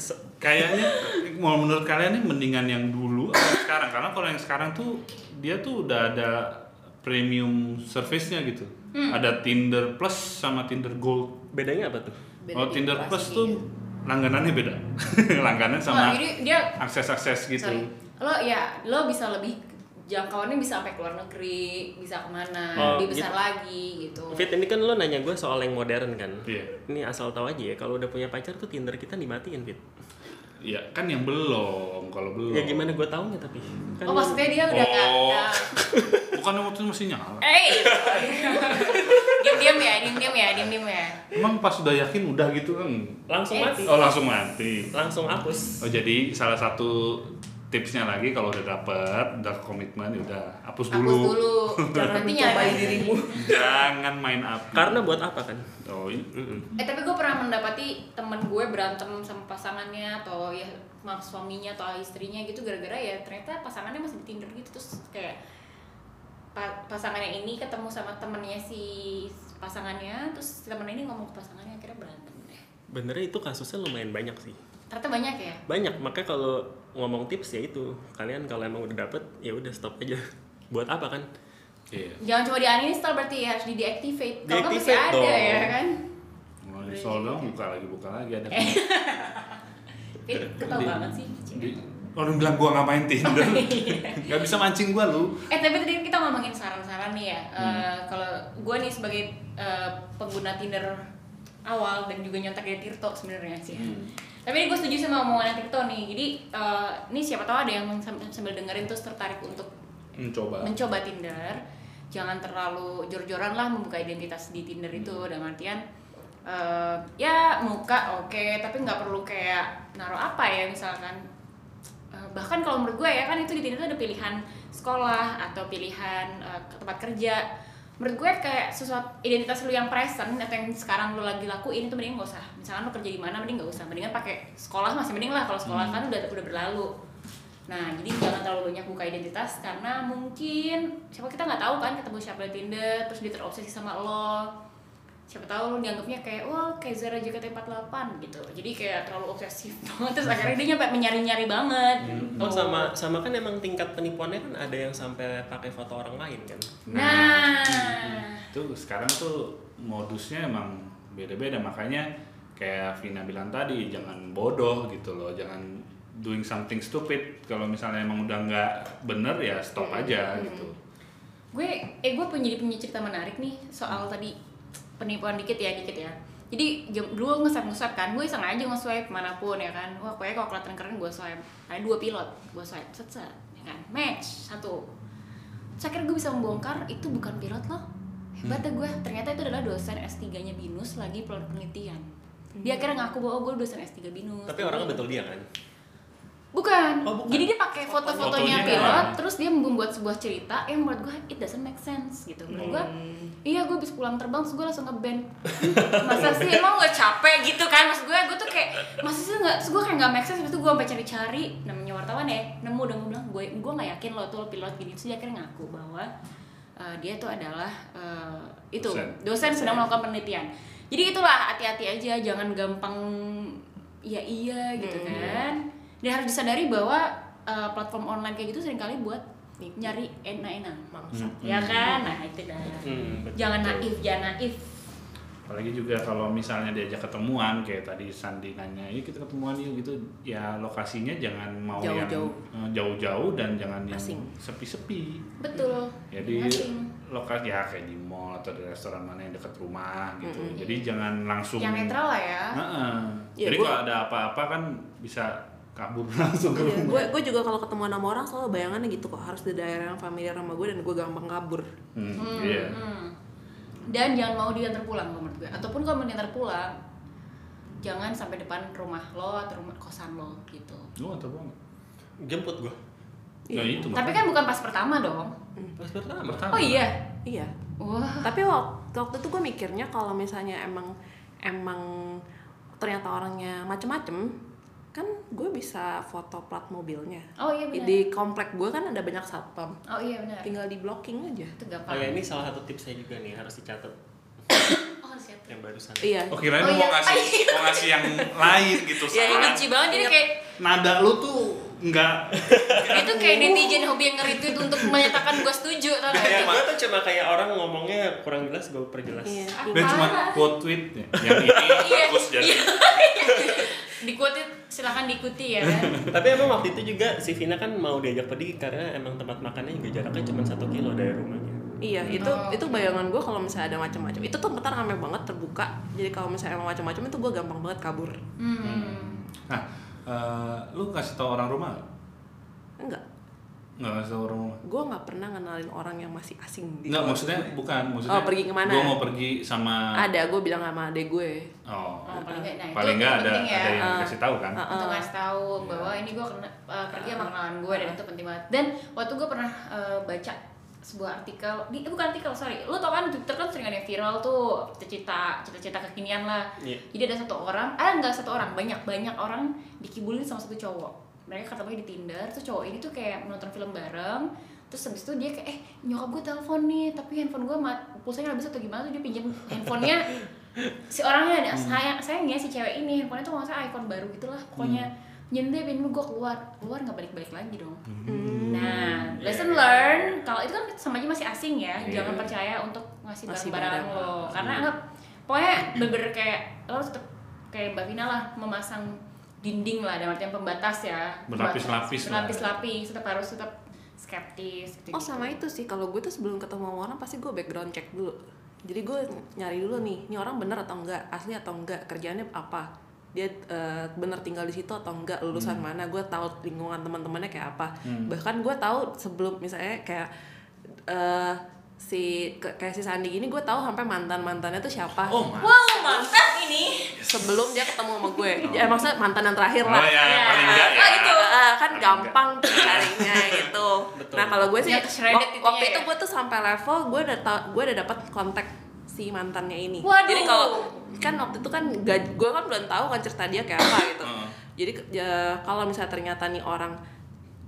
C: Se-
B: Kayaknya mau menurut kalian ini mendingan yang dulu atau yang sekarang? Karena kalau yang sekarang tuh dia tuh udah ada premium service-nya gitu.
A: Hmm.
B: Ada Tinder Plus sama Tinder Gold.
C: bedanya apa tuh
A: Beda
B: Kalau Tinder
A: inovasi
B: Plus
A: gitu.
B: tuh langganannya beda. langganan
A: Wah,
B: sama
A: Oh, jadi dia
B: akses-akses gitu.
A: sorry lo ya lo bisa lebih jangkauannya bisa sampai ke luar negeri bisa kemana
C: Oh,
A: lebih besar
C: gitu.
A: lagi gitu
C: Fit ini kan lo nanya gue soal yang modern kan
B: Iya.
C: ini asal tahu aja ya kalau udah punya pacar tuh Tinder kita dimatiin Fit
B: Ya kan yang belum, kalau belum.
C: ya gimana gue taunya tapi kan
A: oh maksudnya dia udah nggak
B: Oh.
A: nggak-
B: Bukan waktu itu masih nyala.
A: eh diam diam ya diam diam ya diam diam ya
B: Emang pas udah yakin udah gitu kan.
C: langsung mati
B: Oh langsung mati.
C: langsung
B: Oh
C: hapus
B: jadi salah satu tipsnya lagi kalau udah dapet, udah komitmen, ya udah hapus
A: hapus
B: dulu.
A: dulu
D: jangan
A: nanti
D: mencobai
A: nyalain.
D: dirimu
B: Jangan main api.
C: karena buat apa kan
B: oh, i- i-
A: eh tapi gue pernah mendapati temen gue berantem sama pasangannya atau ya sama suaminya atau istrinya gitu gara-gara ya ternyata pasangannya masih di Tinder gitu terus kayak pa- pasangannya ini ketemu sama temennya si pasangannya terus si temen ini ngomong ke pasangannya akhirnya berantem deh
C: benernya itu kasusnya lumayan banyak sih
A: ternyata banyak ya
C: banyak makanya kalau ngomong tips ya itu kalian kalau emang udah dapet ya udah stop aja buat apa kan
B: Iya.
A: jangan cuma di uninstall berarti ya harus di deactivate kalau nggak masih
C: Deactivate
A: ada
C: dong.
A: ya kan
B: Mau install dong, buka lagi, buka lagi ada.
A: Fit ketawa
B: Di-
A: banget sih
B: Di- Orang bilang gua nggak main Tinder, nggak bisa mancing gua lu.
A: Eh tapi tadi kita ngomongin saran-saran nih ya. Eh, kalau gue nih sebagai eh, pengguna Tinder awal dan juga nyontek dari Tirto sebenarnya sih. Tapi ini gue setuju sama omongannya Tirto nih. Jadi eh, ini siapa tahu ada yang sam- sambil dengerin terus tertarik untuk
B: Mencoba.
A: mencoba Tinder. Jangan terlalu jor-joran lah membuka identitas di Tinder itu dengan artian eh, ya muka oke tapi nggak perlu kayak naruh apa ya misalkan Eh, bahkan kalau menurut gue ya kan itu di Tinder tuh ada pilihan sekolah atau pilihan eh, ke tempat kerja menurut gue kayak sesuatu identitas lu yang present atau yang sekarang lu lagi lakuin itu mending gak usah misalkan lu kerja di mana mending gak usah mendingan pakai sekolah masih mending lah kalau sekolah kan udah udah berlalu nah jadi jangan terlalu banyak buka identitas karena mungkin siapa kita nggak tahu kan ketemu siapa di Tinder terus dia terobsesi sama lo siapa tahu lu dianggapnya kayak wah kayak Zara JKT48 gitu jadi kayak terlalu obsesif banget terus akhirnya dia nyampe menyari-nyari banget gitu.
C: oh sama sama kan emang tingkat penipuannya kan ada yang sampai pakai foto orang lain kan
A: nah
B: itu sekarang tuh modusnya emang beda-beda makanya kayak Vina bilang tadi jangan bodoh gitu loh jangan doing something stupid kalau misalnya emang udah nggak bener ya stop aja gitu
A: gue eh gue punya punya cerita menarik nih soal tadi penipuan dikit ya dikit ya jadi jam- dulu nge swipe nge swipe kan gue sengaja nge swipe manapun ya kan wah pokoknya kalau kelihatan keren gue swipe ada dua pilot gue swipe set set ya kan match satu Terus akhirnya gue bisa membongkar itu bukan pilot loh hebat
C: Hmm.
A: deh gue ternyata itu adalah dosen S3 nya binus lagi penelitian dia akhirnya ngaku bahwa "Oh, gue dosen S3 binus
C: Hmm. Tapi orangnya
A: Jadi-
C: betul dia kan?
A: Bukan.
C: Oh, bukan.
A: Jadi dia pakai foto-fotonya
B: Fotonya
A: pilot,
B: doang.
A: terus dia membuat sebuah cerita yang menurut gue it doesn't make sense gitu. Menurut gue, iya gue habis pulang terbang terus gue langsung ngeband. Hmm, masa sih emang gak capek gitu kan? Maksud gue, gue tuh kayak masa sih nggak? Terus gue kayak nggak make sense. Terus gue sampai cari-cari namanya wartawan ya, nemu dan gue bilang gue gue nggak yakin lo tuh lo pilot gini. Terus dia akhirnya ngaku bahwa eh, dia tuh adalah eh, itu
B: Dosen.
A: dosen sedang melakukan penelitian. Jadi itulah hati-hati aja, jangan gampang ya iya gitu
D: Hmm,
A: kan. Dan harus disadari bahwa uh, platform online kayak gitu seringkali buat
D: Nipu.
A: nyari enak-enak.
D: Mangsa.
B: Hmm.
A: Ya kan? Nah, itu dah.
C: Hmm, betul.
A: Jangan naif, jangan naif.
B: apalagi juga kalau misalnya diajak ketemuan kayak tadi Sandi nanya ini kita ketemuan yuk gitu ya lokasinya jangan mau
D: Jauh-jauh.
B: yang eh, jauh-jauh dan jangan yang
D: Asing.
B: sepi-sepi
A: Betul.
B: jadi
A: Asing.
B: lokasi ya kayak di mall atau di restoran mana yang dekat rumah gitu
D: Mm-mm.
B: jadi jangan langsung
A: Yang netral lah ya.
B: Heeh.
D: Ya,
B: jadi
D: gua-
B: kalau ada apa-apa kan bisa kabur langsung
A: Iya,
B: ke rumah
D: gue gue Iya, juga kalau ketemu sama orang selalu bayangannya gitu kok harus di daerah yang familiar sama gue dan gue gampang kabur
B: Hmm,
A: Hmm,
B: iya.
A: hmm. Dan jangan mau diantar pulang kalau menurut gue. Ataupun kalau mau diantar pulang, jangan sampai depan rumah lo atau rumah kosan lo gitu.
B: Lu atau gua?
C: Jemput gua.
B: Ya itu.
A: Tapi kan bukan pas pertama dong.
C: Pas pertama.
B: Pertama.
A: Oh iya.
D: iya
A: Wah.
D: tapi waktu, waktu itu gue mikirnya kalau misalnya emang emang ternyata orangnya macem-macem kan gue bisa foto plat mobilnya
A: Oh iya benar.
D: di komplek gue kan ada banyak satpam
A: Oh iya benar.
D: tinggal di blocking aja
A: Itu gampang.
C: Oh ya ini salah satu tips saya juga nih harus dicatat
A: Oh, siap.
C: yang barusan.
D: iya
B: Oh kirain
A: Oh,
B: lu
A: iya.
B: mau ngasih mau ngasih yang lain gitu.
A: Ya ini
B: salah.
A: benci banget jadi
D: Yap.
A: kayak
B: Nada lu tuh enggak
A: itu kayak netizen hobi yang nge-retweet untuk menyatakan gue setuju tau gak?
C: Kayak gua tuh cuma kayak orang ngomongnya kurang jelas gue perjelas.
D: iya
B: Dia cuma
A: Parah.
B: quote tweetnya yang ini
A: Iya,
B: bagus jadi
A: iya. Dikuatin silahkan diikuti ya kan.
C: Tapi emang waktu itu juga si Vina kan mau diajak pergi karena emang tempat makannya juga jaraknya cuma satu kilo dari rumahnya.
D: Iya, itu
A: Oh.
D: itu bayangan gue kalau misalnya ada macam-macam. Itu tuh ntar rame banget terbuka. Jadi kalau misalnya emang macam-macam itu gue gampang banget kabur.
A: Hmm.
B: nah eh, lu kasih tau orang rumah nggak?
D: Enggak,
B: nggak kasih tau orang rumah
D: gue nggak pernah ngenalin orang yang masih asing. di
B: nggak
D: keluarga
B: maksudnya
D: gue.
B: bukan maksudnya
D: Oh, pergi kemana?
B: gua mau pergi sama
D: Ada, gue bilang sama adek gue.
B: oh,
A: Oh, paling nggak- nah, itu
B: paling nggak ada
A: penting ya.
B: ada yang
D: Ah.
B: dikasih tahu kan
A: Untuk ngasih tahu bahwa ini gue kena uh, pergi sama kenalan gue dan itu penting banget. Dan waktu gue pernah uh, baca sebuah artikel di eh, bukan artikel sorry lu tau kan Twitter kan sering ada yang viral tuh cita-cita cita-cita kekinian lah
C: Iya.
A: jadi ada satu orang ah nggak satu orang banyak banyak orang dikibulin sama satu cowok mereka ketemunya di Tinder terus cowok ini tuh kayak nonton film bareng terus habis itu dia kayak eh nyokap gue telepon nih tapi handphone gue mat pulsanya habis atau gimana tuh dia pinjam handphonenya si orangnya
B: Hmm.
A: ada sayang sayangnya si cewek ini handphonenya tuh nggak usah iPhone baru gitulah pokoknya
B: Hmm.
A: nyentuh dia pinjam gue keluar keluar nggak balik-balik lagi dong
B: Hmm.
A: Nah, lesson learn kalau itu kan sama aja masih asing ya.
B: Iya.
A: Jangan percaya untuk ngasih
D: Ngasih
A: barang-barang
D: barang.
A: lo. Karena anggap pokoknya bener kayak lo harus tetep kayak Mbak Vina lah memasang dinding lah dalam artian pembatas ya.
B: Berlapis-lapis lah.
A: Berlapis-lapis tetap harus tetap skeptis gitu.
D: Oh sama itu sih, kalau gue tuh sebelum ketemu sama orang pasti gue background check dulu. Jadi gue nyari dulu nih, ini orang bener atau enggak, asli atau enggak, kerjaannya apa, dia eh, bener tinggal di situ atau enggak, lulusan
B: Hmm.
D: mana, gue tahu lingkungan teman-temannya kayak apa. Bahkan gue tahu sebelum misalnya kayak eh, si ke- kayak si Sandi gini, gue tahu sampai mantan mantannya tuh siapa.
B: oh mas
A: Wow, mantap ini.
D: Sebelum dia ketemu sama gue, ya maksudnya mantan yang terakhir
B: oh
D: lah.
B: ya paling enggak ya
A: Oh, itu.
D: Ah, kan
B: Paling
D: gampang tuh carinya gitu.
C: Betul.
D: Nah kalau gue sih
A: Yang shredded
D: wak-
A: itunya
D: waktu
A: ya?
D: itu gue tuh sampai level gue udah tau, gue udah dapat kontak si mantannya ini.
A: Waduh.
D: Jadi kalau kan waktu itu kan gaj- gue kan belum tahu kan cerita dia kayak apa gitu.
B: Heeh.
D: Jadi ke- ya, kalau misalnya ternyata nih orang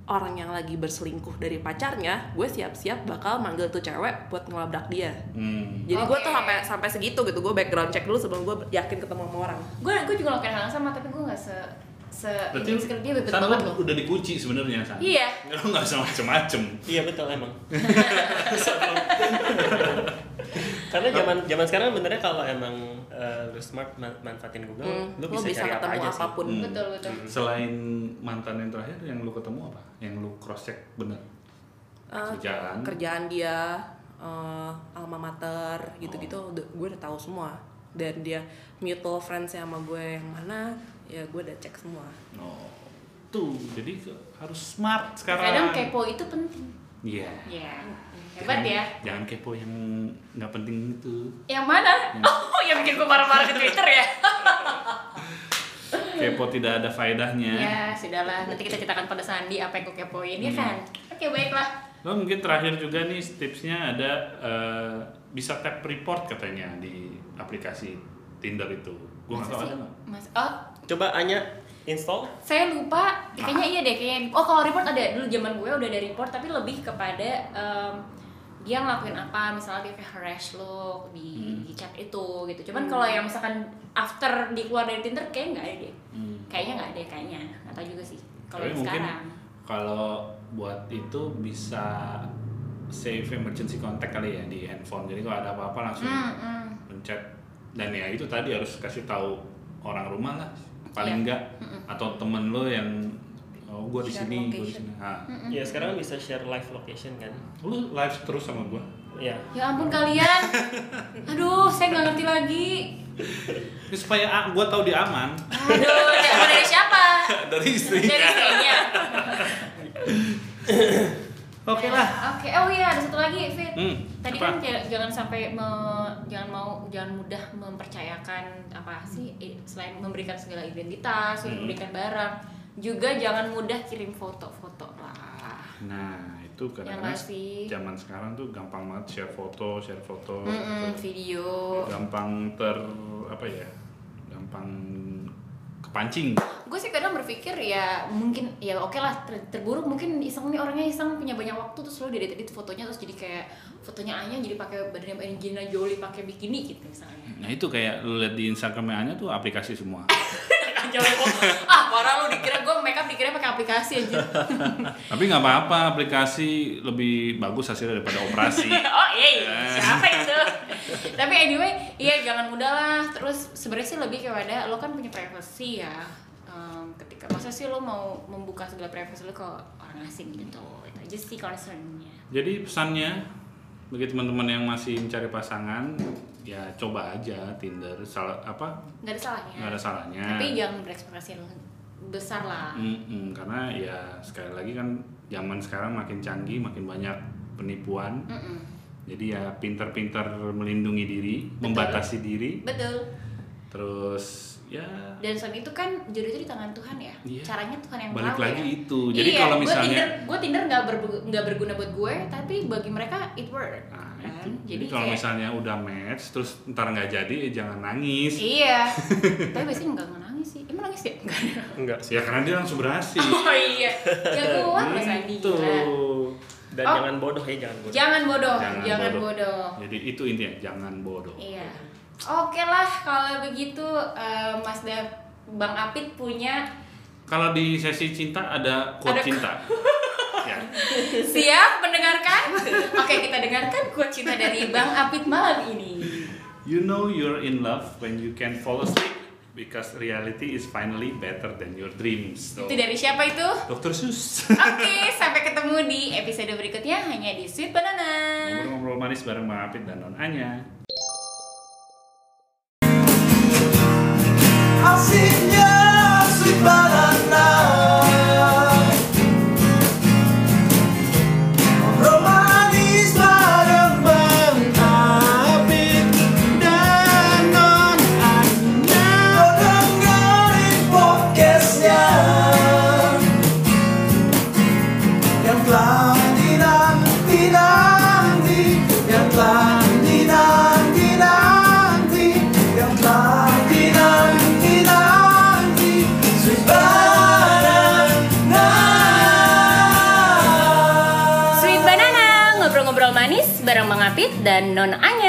D: orang yang lagi berselingkuh dari pacarnya, gue siap-siap bakal manggil tuh cewek buat ngelabrak dia.
B: Hmm.
D: Jadi gue tuh
A: Oke.
D: sampai sampai segitu gitu, gue background check dulu sebelum gue yakin ketemu sama orang.
A: Gue gue juga ngelakuin hal yang sama tapi gue nggak se se
B: berarti
A: ini sekali dia bebet
B: San, lu
A: banget loh.
B: udah dikunci sebenarnya San
A: Iya.
B: lu nggak usah macem-macem
C: Iya betul emang. Karena zaman zaman sekarang benernya kalau emang eh, lu smart man- manfaatin Google,
D: Hmm,
C: lu
D: lo
C: bisa, cari apa
D: ketemu
C: aja sih.
D: apapun.
B: Hmm.
A: Betul betul.
B: Selain mantan yang terakhir yang lu ketemu apa? Yang lu cross check bener?
D: eh,
B: Kerjaan.
D: kerjaan dia eh, alma mater gitu-gitu udah- gue udah tahu semua dan dia mutual friends sama gue yang mana ya gue udah cek semua
B: Oh. Tuh, jadi ke- harus smart sekarang.
A: Kadang kepo itu penting.
B: Iya.
A: Iya. Hebat ya.
B: Jangan- Jangan kepo yang nggak penting itu.
A: Yang mana? Oh, yang bikin gue marah-marah ke Twitter ya?
B: Kepo tidak ada faedahnya.
A: ya, sudahlah. Nanti kita ceritakan pada Sandi apa yang gue kepoin, ya kan? Oke, baiklah.
B: Lo mungkin terakhir juga nih tipsnya ada eh, bisa tap report katanya di aplikasi Tinder itu. Gue nggak tahu
A: Masa
B: ada
A: sih?
B: nggak.
A: Mas, oh,
C: Coba Anya install.
A: saya lupa ya, kayaknya
B: Ah.
A: iya deh kayaknya oh kalau report ada dulu zaman gue udah ada report tapi lebih kepada em, dia ngelakuin apa misalnya dia kayak harass lo di,
B: Hmm.
A: di chat itu gitu cuman kalau yang misalkan after di keluar dari Tinder kayaknya nggak ada deh
B: Hmm.
A: kayaknya nggak ada kayaknya nggak tahu juga sih kalau
B: Tapi mungkin
A: sekarang
B: kalau buat itu bisa save emergency contact kali ya di handphone. Jadi kalau ada apa-apa langsung
A: Hmm, hmm.
B: pencet dan ya itu tadi harus kasih tahu orang rumah lah
A: Iya.
B: paling enggak atau temen lo yang oh gue di
D: Share
B: sini gue di
D: location.
B: sini ah
C: Ya sekarang bisa share live location kan.
B: lu live terus sama gue
C: Ya.
A: ya ampun kalian aduh saya nggak ngerti lagi
B: ini supaya ah, gue tahu dia aman
A: aduh ya, dari siapa
B: dari
A: dari
B: istrinya
A: istrinya
B: oke lah
A: oke oh iya ada satu lagi Fit
B: hmm,
A: Tadi
B: apa?
A: kan ja- jangan sampai me- jangan mau jangan mudah mempercayakan apa sih i- selain memberikan segala identitas,
B: Hmm.
A: memberikan barang, juga jangan mudah kirim foto-foto lah.
B: nah itu kadang-kadang
A: nggak sih?
B: zaman sekarang tuh gampang banget share foto share foto
A: Mm-mm,
B: gitu.
A: video.
B: gampang ter apa ya gampang kepancing
A: Gue sih kadang berpikir ya mungkin ya oke lah ter- terburuk mungkin iseng nih orangnya iseng punya banyak waktu terus lo dia edit fotonya terus jadi kayak fotonya Anya jadi pakai badannya Angelina Jolie pakai bikini gitu misalnya.
B: nah itu kayak lu lihat di instagramnya Anya tuh aplikasi semua
A: Aja lo, ah parah lo dikira gue makeup dikira pakai aplikasi aja.
B: Tapi nggak apa-apa, aplikasi lebih bagus hasilnya daripada operasi.
A: oh iya
B: Eh.
A: siapa itu tapi anyway iya jangan mudah lah terus sebenarnya sih lebih kepada lo kan punya privacy ya Em, ketika masa sih lo mau membuka segala privacy lo ke orang asing gitu itu aja sih concernnya
B: Jadi pesannya bagi teman-teman yang masih mencari pasangan, ya coba aja Tinder. Salah apa?
A: nggak ada salahnya
B: Nggak ada salahnya. Hmm.
A: tapi ya- jangan berekspektasi yang besar lah
B: Mm-mm, karena ya sekali lagi kan zaman sekarang makin canggih, makin banyak penipuan.
A: Mm-mm.
B: Jadi ya pintar-pintar melindungi diri, membatasi diri.
A: betul
B: Terus ya
A: dan soal itu kan jodoh itu di tangan Tuhan ya
B: Iya.
A: caranya Tuhan yang
B: Balik
A: tahu
B: lagi
A: ya.
B: itu. Jadi kalau misalnya-
A: gue Tinder gue Tinder nggak bergu- nggak berguna buat gue tapi bagi mereka it work
B: Nah,
A: kan?
B: itu. Jadi, kalau
A: kayak-
B: misalnya udah match, terus ntar nggak jadi, ya jangan nangis.
A: iya tapi biasanya nggak nggak nangis sih emang nangis ya nggak ada.
C: Enggak.
B: Ya karena dia langsung berhasil.
A: oh iya jagoan mas Andi
B: Gitu.
A: gila.
C: Dan
A: Oh.
C: jangan bodoh ya jangan bodoh.
A: jangan bodoh
B: Jangan
A: Oh, jangan,
B: bodoh.
A: bodoh.
B: Jadi itu intinya jangan bodoh.
A: iya oke lah kalau begitu eh, Mas Dev Bang Apit punya
B: Kalau di sesi cinta ada quote
A: Ada-
B: cinta. ya.
A: siap mendengarkan oke kita dengarkan quote cinta dari Bang Apit malam ini
B: You know you're in love when you can fall asleep because reality is finally better than your dreams. So,
A: Itu dari siapa itu?
B: Dr. Sus.
A: Oke, sampai ketemu di episode berikutnya hanya di Sweet Banana.
B: Ngobrol-ngobrol manis bareng Bang Apit dan Non Anya.
E: Asiknya sweet banana Romanis bareng Bang Apit dan Non Anya Lo dengerin podcastnya Yang telah dinanti-nanti Yang telah dinanti-nanti Yang telah dinanti-nanti Sweet Banana
A: Sweet Banana, ngobrol-ngobrol manis bareng Bang Apit dan Non Anya.